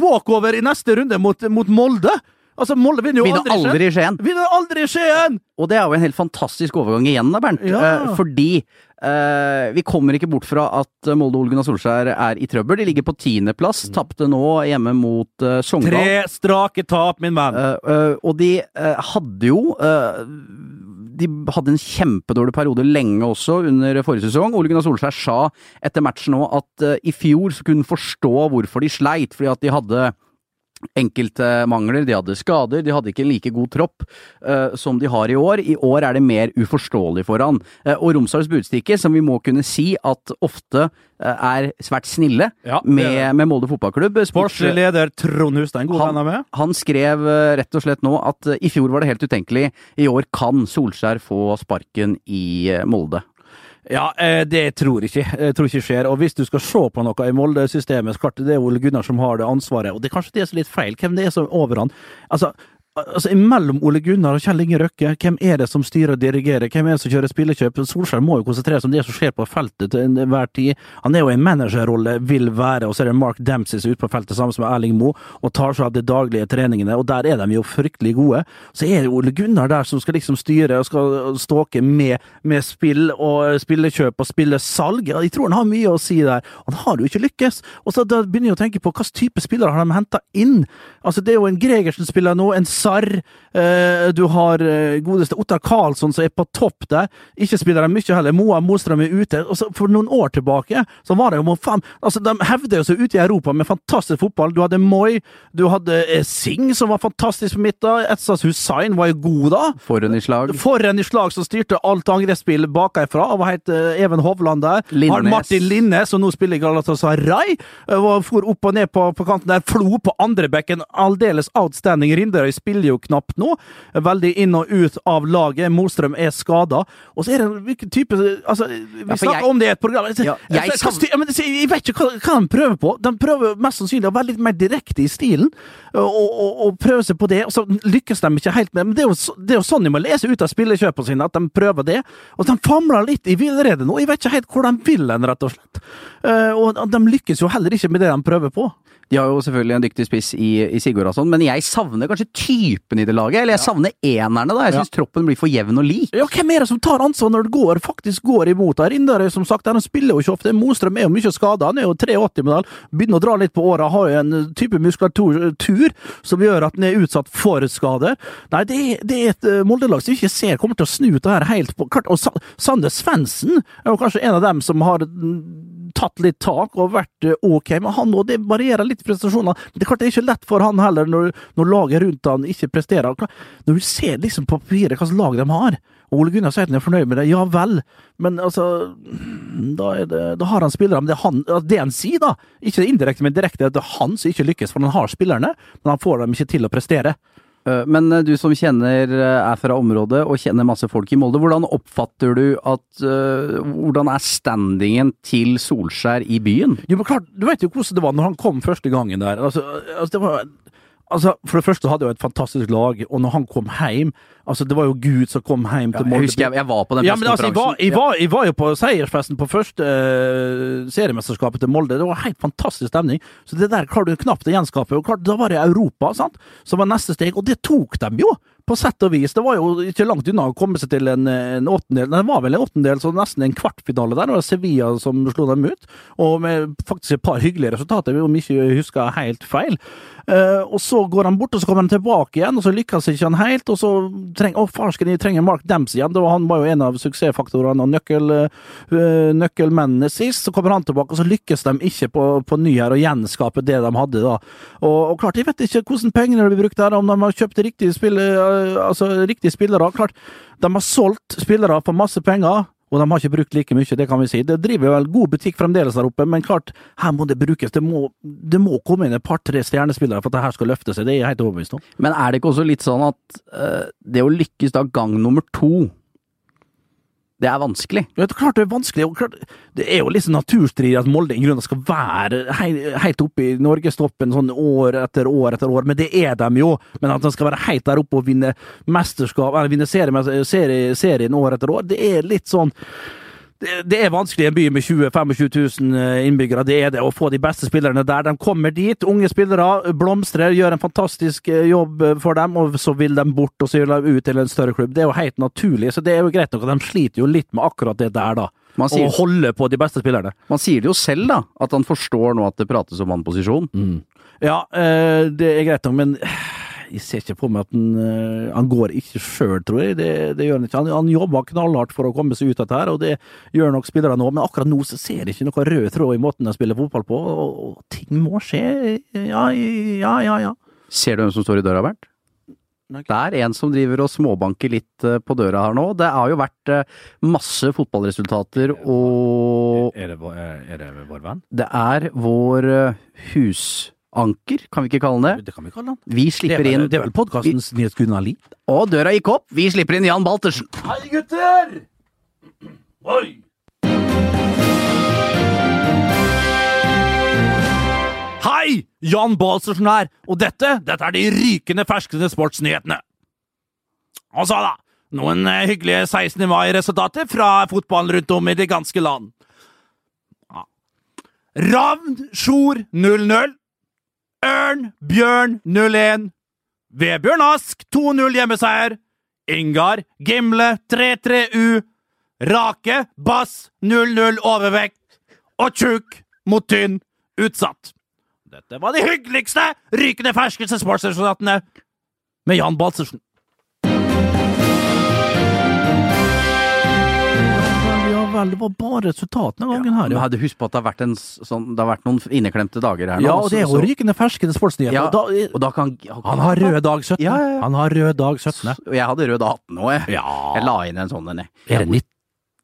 Speaker 3: walkover i neste runde mot, mot Molde! Altså, Molde vinner jo
Speaker 2: Vinner
Speaker 3: aldri,
Speaker 2: aldri i Skien.
Speaker 3: Skien. Vinner aldri Skien!
Speaker 2: Og det er jo en helt fantastisk overgang igjen, da, Bernt.
Speaker 3: Ja.
Speaker 2: Eh, fordi eh, vi kommer ikke bort fra at Molde og Ole Gunnar Solskjær er i trøbbel. De ligger på tiendeplass,
Speaker 3: Mm.
Speaker 2: tapte nå hjemme mot eh, Sogndal.
Speaker 3: Tre strake tap, min venn.
Speaker 2: Eh, eh, og de eh, hadde jo eh, de hadde en kjempedårlig periode lenge også, under forrige sesong. Ole Gunnar Solskjær sa etter matchen nå at eh, i fjor så kunne han forstå hvorfor de sleit, fordi at de hadde enkelte mangler, de hadde skader, de hadde ikke en like god tropp eh, som de har i år. I år er det mer uforståelig for han. Eh, og Romsdals Budstikke, som vi må kunne si at ofte eh, er svært snille
Speaker 3: Ja, det er
Speaker 2: med, med Molde fotballklubb. Sports-
Speaker 3: Sportslig leder Trond Hustein, god
Speaker 2: Han-
Speaker 3: venn av meg.
Speaker 2: han skrev eh, rett og slett nå at eh, i fjor var det helt utenkelig, i år kan Solskjær få sparken i eh, Molde.
Speaker 3: Ja, eh, det tror jeg ikke. Jeg tror ikke skjer. Og hvis du skal se på noe i Molde-systemet, så klart det er Ole Gunnar som har det ansvaret. Og det er kanskje det som er litt feil. Hvem det er som er over han? Altså, altså imellom Ole Gunnar og Kjell Inge Røkke, hvem er det som styrer og dirigerer? Hvem er det som kjører spillekjøp? Solskjær må jo konsentrere seg om det som skjer på feltet til enhver tid. Han er jo i en managerrolle, vil være, og så er det Mark Dempsey som er ute på feltet sammen med Erling Moe og tar seg av de daglige treningene, og der er de jo fryktelig gode. Så er det Ole Gunnar der som skal liksom styre og skal ståke med, med spill og eh, spillekjøp og spillesalg. Ja, Jeg tror han har mye å si der. Han har jo ikke lykkes. Og så da begynner jeg å tenke på hvilken type spillere har de henta inn? Altså, det er jo en Gregersen-spiller nå, en Sarr. Eh, du har eh, godeste Ottar Karlsson som er på topp der. Ikke spiller de mye heller. Moa Mostrøm er ute. Og så for noen år tilbake så var det jo faen Altså, de hevder jo seg ute i Europa med fantastisk fotball. Du hadde Moi, du hadde eh, Singh som var fantastisk på midten. Etzas Hussain var jo god da.
Speaker 2: Foran i slag.
Speaker 3: Foran i slag som styrte alt angrepsspill bakafra. og Hva het eh, Even Hovland der?
Speaker 2: Lindnes.
Speaker 3: Har Martin Linne, som nå spiller i Galatasaray. eh, og For opp og ned på, på kanten der. Flo på andrebekken. Aldeles outstanding. Rinderøy spiller jo knapt nå. Veldig inn og ut av laget. Mostrøm er skada. Og så er det en hvilken type altså, Vi
Speaker 2: for
Speaker 3: snakker
Speaker 2: jeg-
Speaker 3: om det i et program. Jeg,
Speaker 2: Ja, jeg
Speaker 3: jeg,
Speaker 2: savner-
Speaker 3: ja, men det- jeg vet ikke hva, hva de prøver på. De prøver mest sannsynlig å være litt mer direkte i stilen, og, og, og prøve seg på det. Og så lykkes de ikke helt med det. Men det er jo, så- det er jo sånn de må lese ut av spillekjøpene sine, at de prøver det. Og de famler litt i villrede nå. Jeg vet ikke helt hvor de vil hen, rett og slett. Eh, og de lykkes jo heller ikke med det de prøver på.
Speaker 2: De har jo selvfølgelig en dyktig spiss i, i Sigurd og sånn, men jeg savner kanskje typen i det laget. Eller jeg savner enerne, da. Jeg syns troppen blir for jevn og lik.
Speaker 3: Ja, hvem er det som tar ansvar når det går, faktisk går imot her? Inderøy, som sagt, han spiller jo ikke ofte. Mostrøm er jo mye skada. Han er jo 83 med den. Begynner å dra litt på åra. Har jo en eh, type muskulatur som gjør at han er utsatt for skader. Nei, det, er- det er et eh, Molde-lag som vi ikke ser kommer til å snu det her helt på klart. Og Sa- Sander Svendsen er jo kanskje en av dem som har mm, tatt litt tak og vært eh, ok, men han nå, det varierer litt prestasjonene. Men det er klart det er ikke lett for han heller, når, når laget rundt han ikke presterer. Klart, Når du ser liksom på papiret hva slags lag de har, og Ole Gunnar sier at han er fornøyd med det, ja vel, men altså Da, er det, da har han spillere, men det er han, altså, det han sier, da, ikke indirekte, men direkte, at det er han som ikke lykkes, for han har spillerne, men han får dem ikke til å prestere.
Speaker 2: Eh, Men eh, du som kjenner, eh, er fra området og kjenner masse folk i Molde, hvordan oppfatter du at eh, Hvordan er standingen til Solskjær i byen?
Speaker 3: Jo, men klart, Du vet jo hvordan det var når han kom første gangen der. Altså, altså, det var, altså For det første hadde jeg jo et fantastisk lag, og når han kom hjem altså, Det var jo Gud som kom hjem til
Speaker 2: Jeg
Speaker 3: Molde.
Speaker 2: husker jeg, jeg var på den
Speaker 3: ja, men altså, jeg, var, jeg,
Speaker 2: Ja.
Speaker 3: var, jeg var jo på seiersfesten på første eh, seriemesterskapet til Molde. Det var helt fantastisk stemning. Så det der klarer du knapt å gjenskape. Og klart, da var det Europa sant? som var neste steg, og det tok dem jo! På sett og vis. Det var jo ikke langt unna å komme seg til en, en åttendel. Nei, det var vel en åttendel, så nesten en kvartfinale der. Det var Sevilla som slo dem ut. Og med faktisk et par hyggelige resultater, om ikke jeg husker helt feil. Eh, og så går han bort, og så kommer han tilbake igjen, og så lykkes ikke han helt. Og så trenger Å, farsken, de trenger Mark Dempsey igjen. Det var, han var jo en av suksessfaktorene og nøkkel, eh, nøkkelmennene sist. Så kommer han tilbake, og så lykkes de ikke på, på ny her å gjenskape det de hadde da. Og, og klart, jeg vet ikke hvordan pengene blir brukt der, om de har kjøpt riktige, spill, eh, altså, riktige spillere. Klart, de har solgt spillere for masse penger. Og de har ikke brukt like mye, det kan vi si. Det driver vel god butikk fremdeles der oppe, men klart, her må det brukes. Det må, det må komme inn et par-tre stjernespillere for at det her skal løfte seg, det er jeg helt overbevist om.
Speaker 2: Men er det ikke også litt sånn at eh, det å lykkes da gang nummer to, det er vanskelig?
Speaker 3: Ja, det er klart det er vanskelig, og klart, det er jo litt sånn naturstrid at Molde i grunnen skal være hei- helt oppe i norgestoppen sånn år etter år etter år, men det er de jo. Men at de skal være helt der oppe og vinne mesterskap, eller vinne serie, serie, serien år etter år, det er litt sånn det det er vanskelig i en by med 20 25 000 eh, innbyggere. Det er det å få de beste spillerne der. De kommer dit, unge spillere, blomstrer, gjør en fantastisk eh, jobb for dem, og så vil de bort, og så vil de ut til en større klubb. Det er jo helt naturlig, så det er jo greit nok. at De sliter jo litt med akkurat det der, da.
Speaker 2: Man sier-
Speaker 3: Å holde på de beste spillerne.
Speaker 2: Man sier det jo selv, da, at han forstår nå at det prates om vannposisjon.
Speaker 3: Ja, eh, det er greit nok, men jeg ser ikke på meg at han, eh, han går ikke sjøl, tror jeg. Det, det gjør han ikke. Han, han jobber knallhardt for å komme seg ut av dette, her, og det gjør nok spillerne nå, men akkurat nå så ser jeg ikke noe rød tråd i måten de spiller fotball på, og, og ting må skje. Ja, ja, ja. ja.
Speaker 2: Ser du hvem som står i døra, Bernt? Det er en som driver og småbanker litt eh, på døra her nå. Det har jo vært eh, masse fotballresultater, og
Speaker 8: Er det, vår- er det vår venn?
Speaker 2: det er vår eh, husanker, kan vi ikke kalle han det?
Speaker 3: Det kan vi kalle han.
Speaker 2: Vi
Speaker 3: Det er
Speaker 2: slipper
Speaker 3: vel,
Speaker 2: inn
Speaker 3: det er vel podkastens Nils Gunnar Lie?
Speaker 2: Og døra gikk opp! Vi slipper inn Jan Baltersen!
Speaker 3: Hei, gutter! Oi! Hei! Jan Balsersen her, og dette, dette er de rykende ferskende sportsnyhetene. Og så da, noen eh, hyggelige 16. mai-resultater fra fotballen rundt om i det ganske land. Ja. Ravn Sjor 0-0. Ørn Bjørn 0-1. Vebjørn Ask 2-0 hjemmeseier. Ingar, Gimle, 3-3U, Rake, Bass, 0-0 overvekt, og Tjukk mot Tynn, utsatt. Dette var de hyggeligste rykende ferskeste sportsresultatene med Jan Balsersen. Ja vel, det var bare resultatene av gangen her,
Speaker 2: Men hadde husk på at det har vært, en, s- sånn, det har vært noen inneklemte dager her nå.
Speaker 3: Ja, og det er
Speaker 2: så-
Speaker 3: jo rykende ferskende sportsnyheter.
Speaker 2: Ja,
Speaker 3: og da-
Speaker 2: og da kan
Speaker 3: han har rød dag 17.
Speaker 2: Ja, ja, ja.
Speaker 3: Han har rød dag 17.
Speaker 2: Og jeg hadde rød 18 nå, jeg. Jeg
Speaker 3: Ja,
Speaker 2: la inn en sånn en, jeg.
Speaker 3: er det 19?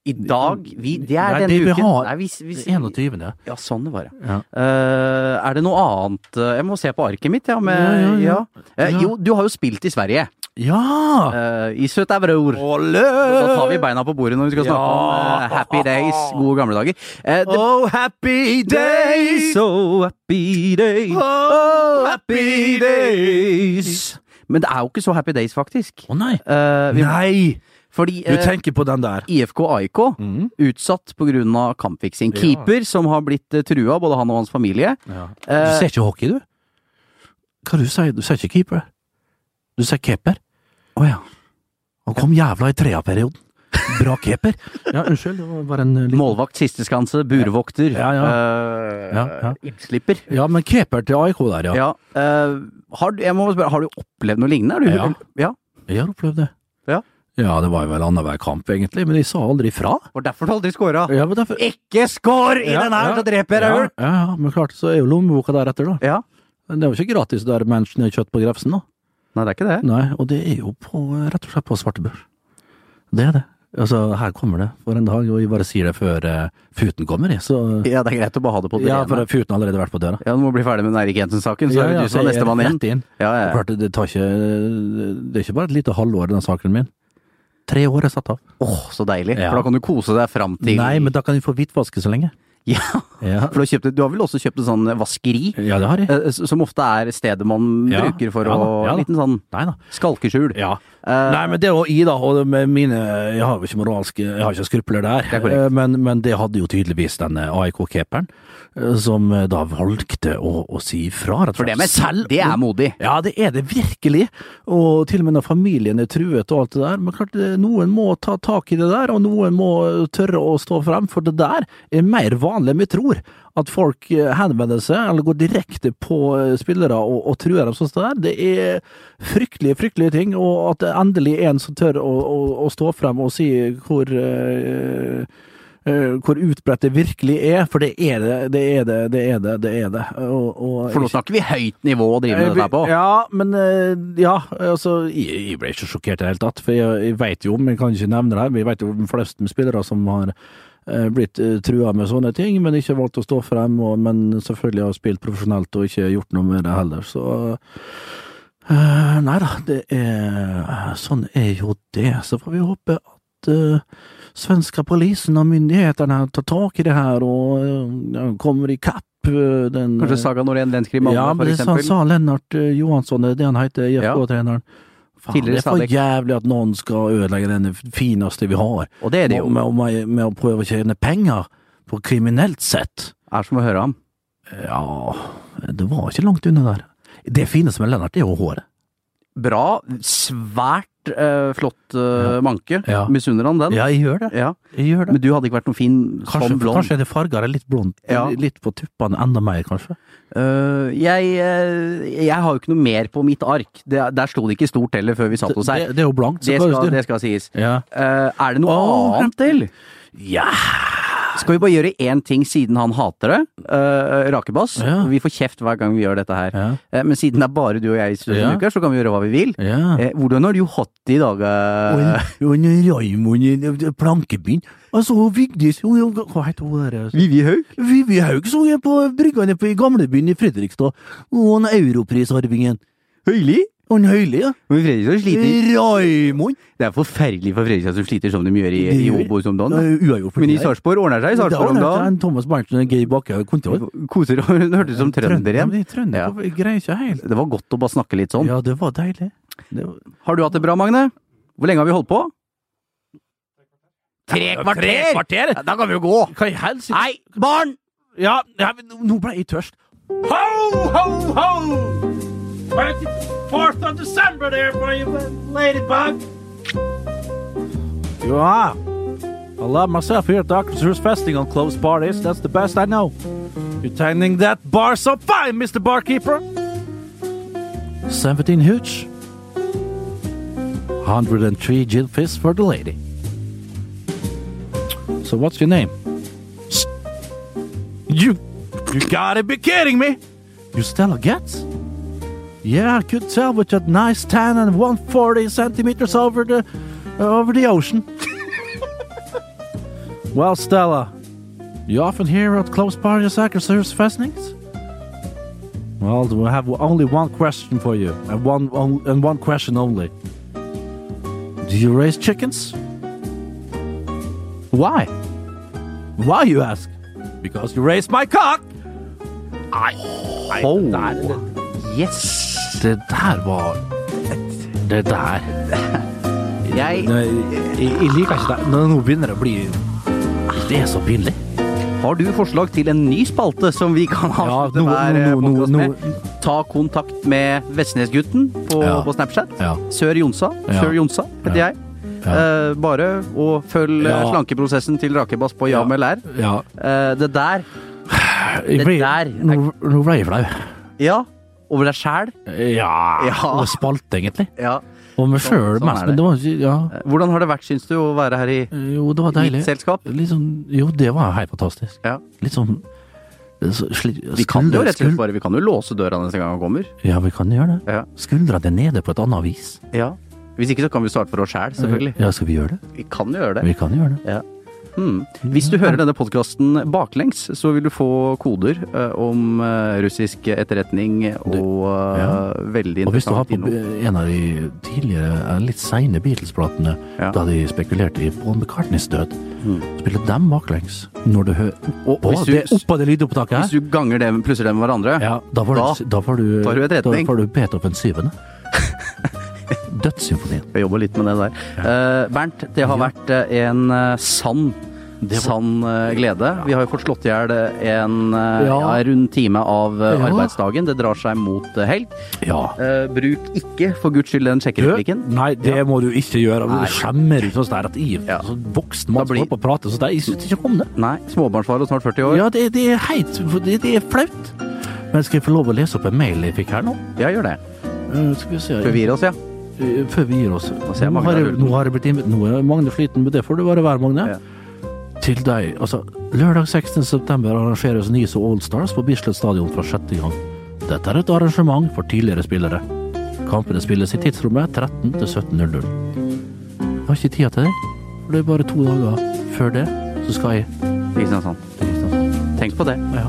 Speaker 2: I dag vi, Det er
Speaker 3: Nei,
Speaker 2: denne
Speaker 3: det vi
Speaker 2: uken.
Speaker 3: har-
Speaker 2: Nei, hvis- hvis-
Speaker 3: 21.
Speaker 2: Ja, sånn det var, ja.
Speaker 3: Ja.
Speaker 2: Eh, er det noe annet eh, Jeg må se på arket mitt, ja. Med,
Speaker 3: Ja,
Speaker 2: ja,
Speaker 3: ja,
Speaker 2: Eh,
Speaker 3: Ja.
Speaker 2: jo, du har jo spilt i Sverige.
Speaker 3: Ja!
Speaker 2: Eh, I Søtævror.
Speaker 3: Ole!
Speaker 2: Da tar vi beina på bordet når vi skal snakke om eh, happy days, gode gamle dager. Eh, det-
Speaker 3: Oh, happy days!
Speaker 2: so happy days,
Speaker 3: Oh, happy days!
Speaker 2: Men det er jo ikke så happy days, faktisk.
Speaker 3: Å nei!
Speaker 2: Eh, vi,
Speaker 3: Nei!
Speaker 2: Fordi
Speaker 3: Du Mm.
Speaker 2: eh,
Speaker 3: tenker på den der.
Speaker 2: IFK AIK utsatt pga. kampfiksing. Keeper som har blitt eh, trua, både han og hans familie.
Speaker 3: Du
Speaker 2: Eh,
Speaker 3: ser ikke hockey, du? Hva du sier du? sier ikke keeper. Du sier keeper. Å ja. Han kom jævla i trea-perioden. Bra keeper. Ja, unnskyld. Det var bare en eh, liten
Speaker 2: målvakt, sisteskanse, burvokter.
Speaker 3: Ja, ja.
Speaker 2: eh,
Speaker 3: Ja, ja.
Speaker 2: Innslipper.
Speaker 3: Ja, men keeper til AIK der, ja.
Speaker 2: Ja. eh, har, du- jeg må spørre, har du opplevd noe lignende? Har du,
Speaker 3: Ja.
Speaker 2: ja.
Speaker 3: Jeg har opplevd det.
Speaker 2: Ja.
Speaker 3: Ja, det var jo vel annenhver kamp, egentlig, men de sa aldri fra.
Speaker 2: Og derfor har du aldri scora.
Speaker 3: Ja, men derfor...
Speaker 2: Ikke score i
Speaker 3: Ja,
Speaker 2: den her,
Speaker 3: ja.
Speaker 2: så dreper jeg deg!
Speaker 3: ja,
Speaker 2: Ulf.
Speaker 3: ja, ja, men klart, så er jo lommeboka deretter, da.
Speaker 2: Ja.
Speaker 3: Men det er jo ikke gratis der menneskene har kjøtt på Grefsen, da.
Speaker 2: Nei, det er ikke det.
Speaker 3: Nei, og det er jo på, rett og slett på svartebørs. Det er det. Altså, her kommer det for en dag, og jeg bare sier det før eh, futen kommer, jeg. Så,
Speaker 2: Ja, Det er greit å bare ha det på det
Speaker 3: ja, for
Speaker 2: rene.
Speaker 3: futen har allerede vært på døra.
Speaker 2: Ja, Du må bli ferdig med den Erik Jensen-saken, så
Speaker 3: Ja,
Speaker 2: er
Speaker 3: ja,
Speaker 2: det du
Speaker 3: så
Speaker 2: som er
Speaker 3: jeg er
Speaker 2: nestemann
Speaker 3: rett inn.
Speaker 2: igjen. Ja, ja.
Speaker 3: Og Klart, det tar ikke Det er ikke bare et lite halvår, den saken min. Tre år er satt av.
Speaker 2: Åh, så deilig.
Speaker 3: Ja.
Speaker 2: For da kan du kose deg fram til
Speaker 3: Nei, men da kan jeg få hvitvaske så lenge.
Speaker 2: Ja,
Speaker 3: Ja,
Speaker 2: for du har, kjøpt, et- du har vel også kjøpt en sånn vaskeri?
Speaker 3: ja det har jeg.
Speaker 2: eh, s- Som ofte er stedet man
Speaker 3: Ja,
Speaker 2: bruker for
Speaker 3: ja da,
Speaker 2: å
Speaker 3: ja da.
Speaker 2: En liten sånn
Speaker 3: Nei da.
Speaker 2: skalkeskjul.
Speaker 3: Ja.
Speaker 2: Eh,
Speaker 3: Nei, men det var i da, og det med mine Jeg har jo ikke moralske Jeg har ikke skrupler der,
Speaker 2: er korrekt.
Speaker 3: Eh, men, men det hadde jo tydeligvis den AIK-keeperen, eh, som eh, da valgte å, å si fra, rett og
Speaker 2: for det, med,
Speaker 3: slett. Selv
Speaker 2: det er modig.
Speaker 3: ja, det er det virkelig, og til og med når familien er truet og alt det der, men klart, eh, noen må ta tak i det der, og noen må tørre å stå frem, for det der er mer vanlig enn vi tror, at folk eh, henvender seg, eller går direkte på eh, spillere og, og truer dem sånn som det der, det er fryktelige, fryktelige ting, og at det endelig er en som tør å, å, å stå frem og si hvor eh, eh, hvor utbredt det virkelig er, for det er det, det er det, det er det, det er det. Og, og,
Speaker 2: For nå snakker vi høyt nivå å drive med
Speaker 3: jeg
Speaker 2: dette her på.
Speaker 3: blir- Eh, Ja, men eh, Ja, altså Jeg, jeg ble ikke sjokkert i det hele tatt, for jeg, jeg veit jo om Jeg kan ikke nevne det her, men jeg veit jo om flest med spillere som har eh, blitt eh, trua med sånne ting, men ikke valgt å stå frem, og, men selvfølgelig har spilt profesjonelt og ikke gjort noe med det heller, så eh, Nei da, det er Sånn er jo det. Så får vi håpe at eh, svenska polisen og myndighetene tar tak i det her og eh, kommer i kapp eh, den
Speaker 2: Kanskje Saga Norén Lenskrim
Speaker 3: ja, men
Speaker 2: for
Speaker 3: det sånn sa,
Speaker 2: eksempel.
Speaker 3: sa Lennart eh, Johansson, det er det han heter, IFK-treneren. Faen,
Speaker 2: Tidligere
Speaker 3: det er for
Speaker 2: Stabæk.
Speaker 3: jævlig at noen skal ødelegge den fineste vi har,
Speaker 2: Og det er det
Speaker 3: med,
Speaker 2: jo.
Speaker 3: med, med, med å prøve å tjene penger på kriminelt sett.
Speaker 2: Er som å høre ham.
Speaker 3: Ja, det var ikke langt unna der. Det fine som er Lennart, det er jo håret.
Speaker 2: Bra, svært Svært eh, flott eh, manke.
Speaker 3: Ja.
Speaker 2: Misunner han den?
Speaker 3: Ja, jeg gjør det.
Speaker 2: Ja.
Speaker 3: Jeg gjør det.
Speaker 2: Men du hadde ikke vært noe fin
Speaker 3: Kanskje,
Speaker 2: som blond.
Speaker 3: kanskje er det farger er litt blond.
Speaker 2: Ja.
Speaker 3: Litt på tuppene enda mer, kanskje.
Speaker 2: Eh, jeg, eh, jeg har jo ikke noe mer på mitt ark. Det, der sto det ikke stort heller før vi satte oss her.
Speaker 3: Det, det er jo blankt. så
Speaker 2: Det
Speaker 3: hva er
Speaker 2: skal,
Speaker 3: det-
Speaker 2: det skal sies.
Speaker 3: Ja.
Speaker 2: Eh, er det noe
Speaker 3: Åh,
Speaker 2: annet til?
Speaker 3: ja.
Speaker 2: Skal vi bare gjøre én ting siden han hater det? Eh, Rakebass.
Speaker 3: Ja.
Speaker 2: Vi får kjeft hver gang vi gjør dette her.
Speaker 3: Ja.
Speaker 2: Eh, men siden det er bare du og jeg i studio denne
Speaker 3: Ja.
Speaker 2: uka, så kan vi gjøre hva vi vil.
Speaker 3: ja.
Speaker 2: Eh, hvordan har du hatt det i dag?
Speaker 3: Og
Speaker 2: eh,
Speaker 3: en- og en Raimond i en plankebyen. Altså, hun Vigdis hun- hun- Hva heter hun der? altså?
Speaker 2: Vivi Haug?
Speaker 3: Vivi Haug som er på brygga nede på- i gamlebyen i Fredrikstad. Og han europrisarvingen.
Speaker 2: Høyli?
Speaker 3: Han Høili, ja.
Speaker 2: Men Fredrikstad sliter.
Speaker 3: Raimond!
Speaker 2: Det er forferdelig for Fredrikstad som sliter som de gjør i, i Obos om dagen. da.
Speaker 3: Eh, Uavgjort. for
Speaker 2: Men i
Speaker 3: meg.
Speaker 2: Sarpsborg ordner seg i
Speaker 3: Det har
Speaker 2: Sarpsborg om
Speaker 3: vært
Speaker 2: dagen.
Speaker 3: en Thomas Berntsen og Geir Bakke kontroll.
Speaker 2: Koser og hun hørtes ut som trønder
Speaker 3: Ja,
Speaker 2: igjen.
Speaker 3: men Trønder
Speaker 2: Ja.
Speaker 3: jeg greier ikke helt.
Speaker 2: Det var godt å bare snakke litt sånn.
Speaker 3: Ja, det var deilig. Det var...
Speaker 2: Har du hatt det bra, Magne? Hvor lenge har vi holdt på? Tre
Speaker 3: Tre kvarter?
Speaker 2: Ja, Da kan vi jo gå!
Speaker 3: Hva i helsike?
Speaker 2: Nei, barn!
Speaker 3: Ja, ja, men nå ble jeg tørst.
Speaker 1: Ho, ho, ho! 24th of December there for you, ladybug.
Speaker 3: Yeah. I love myself here at Doctor Who's Festing on closed parties. That's the best I know. You're tending that bar so fine, Mr. Barkeeper. 17 hooch. 103 gin fizz for the lady. So what's your name? You, you gotta be kidding me! You Stella Getz? Yeah, I could tell with that nice tan and 140 centimeters over the uh, over the ocean. well, Stella, you often hear at close parties accusers fastenings? Well, we have only one question for you, and one on- and one question only. Do you raise chickens? Why? Why you ask? Because you raised my cock.
Speaker 2: Oh. Yes!
Speaker 3: Det der var Det der.
Speaker 2: Jeg
Speaker 3: Nei, jeg, jeg liker ikke det. Nå nå begynner det å bli Det er så pinlig.
Speaker 2: Har du forslag til en ny spalte som vi kan avslutte
Speaker 3: Ja, nå-
Speaker 2: hver
Speaker 3: nå-
Speaker 2: eh,
Speaker 3: nå-
Speaker 2: podcast
Speaker 3: nå-
Speaker 2: med? Ta kontakt med Vestnesgutten på,
Speaker 3: Ja.
Speaker 2: på Snapchat.
Speaker 3: Ja.
Speaker 2: Sør Jonsa.
Speaker 3: Ja.
Speaker 2: Sør Jonsa heter jeg. Eh, bare og følg eh,
Speaker 3: Ja.
Speaker 2: slankeprosessen til Rakebass på Ja med lær.
Speaker 3: Ja.
Speaker 2: Eh, det der
Speaker 3: Jeg ble,
Speaker 2: der er-
Speaker 3: nå, nå ble jeg flau.
Speaker 2: Ja. Over deg sjæl.
Speaker 3: Ja.
Speaker 2: Ja.
Speaker 3: Og spalt, egentlig.
Speaker 2: Ja.
Speaker 3: Og meg
Speaker 2: Sånn-
Speaker 3: sjøl
Speaker 2: sånn
Speaker 3: mest. Men
Speaker 2: er det.
Speaker 3: det var ikke ja.
Speaker 2: Eh, Hvordan har det vært, syns du, å være her i
Speaker 3: Jo, det var deilig.
Speaker 2: mitt selskap?
Speaker 3: Litt sånn, jo, det var helt fantastisk.
Speaker 2: Ja.
Speaker 3: Litt sånn så sli-
Speaker 2: Vi kan jo
Speaker 3: skuldre-
Speaker 2: rett og slett
Speaker 3: skul-
Speaker 2: bare Vi kan jo låse døra neste gang han kommer.
Speaker 3: Ja, vi kan gjøre det.
Speaker 2: Ja.
Speaker 3: Skuldrene nede på et annet vis.
Speaker 2: Ja. Hvis ikke så kan vi starte for oss sjæl, selvfølgelig.
Speaker 3: Ja, skal vi gjøre det?
Speaker 2: Vi kan jo gjøre det.
Speaker 3: Vi kan gjøre det.
Speaker 2: Hmm. Hvis du hører denne podkasten baklengs, så vil du få koder eh, om eh, russisk etterretning og eh,
Speaker 3: ja.
Speaker 2: veldig
Speaker 3: Og hvis du har
Speaker 2: interessant
Speaker 3: på
Speaker 2: innhold.
Speaker 3: en av de tidligere, eh, litt seine Beatles-platene,
Speaker 2: Ja.
Speaker 3: da de spekulerte i Paul McCartneys død, spiller dem baklengs når Mm. du hører
Speaker 2: Og
Speaker 3: Å,
Speaker 2: hvis du-
Speaker 3: det er oppå det lydopptaket her!
Speaker 2: Hvis du ganger dem, plusser dem med hverandre
Speaker 3: ja, da, får
Speaker 2: Da
Speaker 3: du, da får du
Speaker 2: tar du et retning.
Speaker 3: Da får du Beethoven syvende. Dødssymfonien.
Speaker 2: Jeg jobber litt med det der. Eh, Bernt, det har vært eh, en eh, sann
Speaker 3: Det var-
Speaker 2: Sann eh, glede. Vi har jo fått slått i hjel eh, en eh, ja.
Speaker 3: Ja.
Speaker 2: rund time av eh,
Speaker 3: Ja.
Speaker 2: arbeidsdagen. Det drar seg mot eh, helg.
Speaker 3: Ja.
Speaker 2: Eh, bruk ikke, for guds skyld, den sjekkereplikken.
Speaker 3: Nei, det må du ikke gjøre.
Speaker 2: Nei.
Speaker 3: Du skjemmer ut sånn der at jeg,
Speaker 2: Ja.
Speaker 3: sånn voksen mann,
Speaker 2: Da blir-
Speaker 3: står opp og prater sånn der. Jeg synes ikke om det.
Speaker 2: Nei, småbarnsfar og snart 40 år.
Speaker 3: Ja, det, det er heit. Det, det er flaut. Men skal jeg få lov å lese opp en mail jeg fikk her nå?
Speaker 2: Ja, gjør det.
Speaker 3: Eh, Skal vi se.
Speaker 2: Forvirre oss, ja.
Speaker 3: Eh, Før vi gir oss. Nå,
Speaker 2: ser jeg Magne
Speaker 3: har, jeg-
Speaker 2: Rutten.
Speaker 3: nå har jeg blitt inv- Nå er Magne Flyten, men det får du bare være, Magne. Til deg. Altså, lørdag 16.9 arrangeres Nys og Allstars på Bislett stadion for sjette gang. Dette er et arrangement for tidligere spillere. Kampene spilles i tidsrommet 13 til 17.00. Jeg har ikke tida til det, for det er bare to dager før det, så skal jeg
Speaker 2: Kristiansand. Tenk på det.
Speaker 3: ja.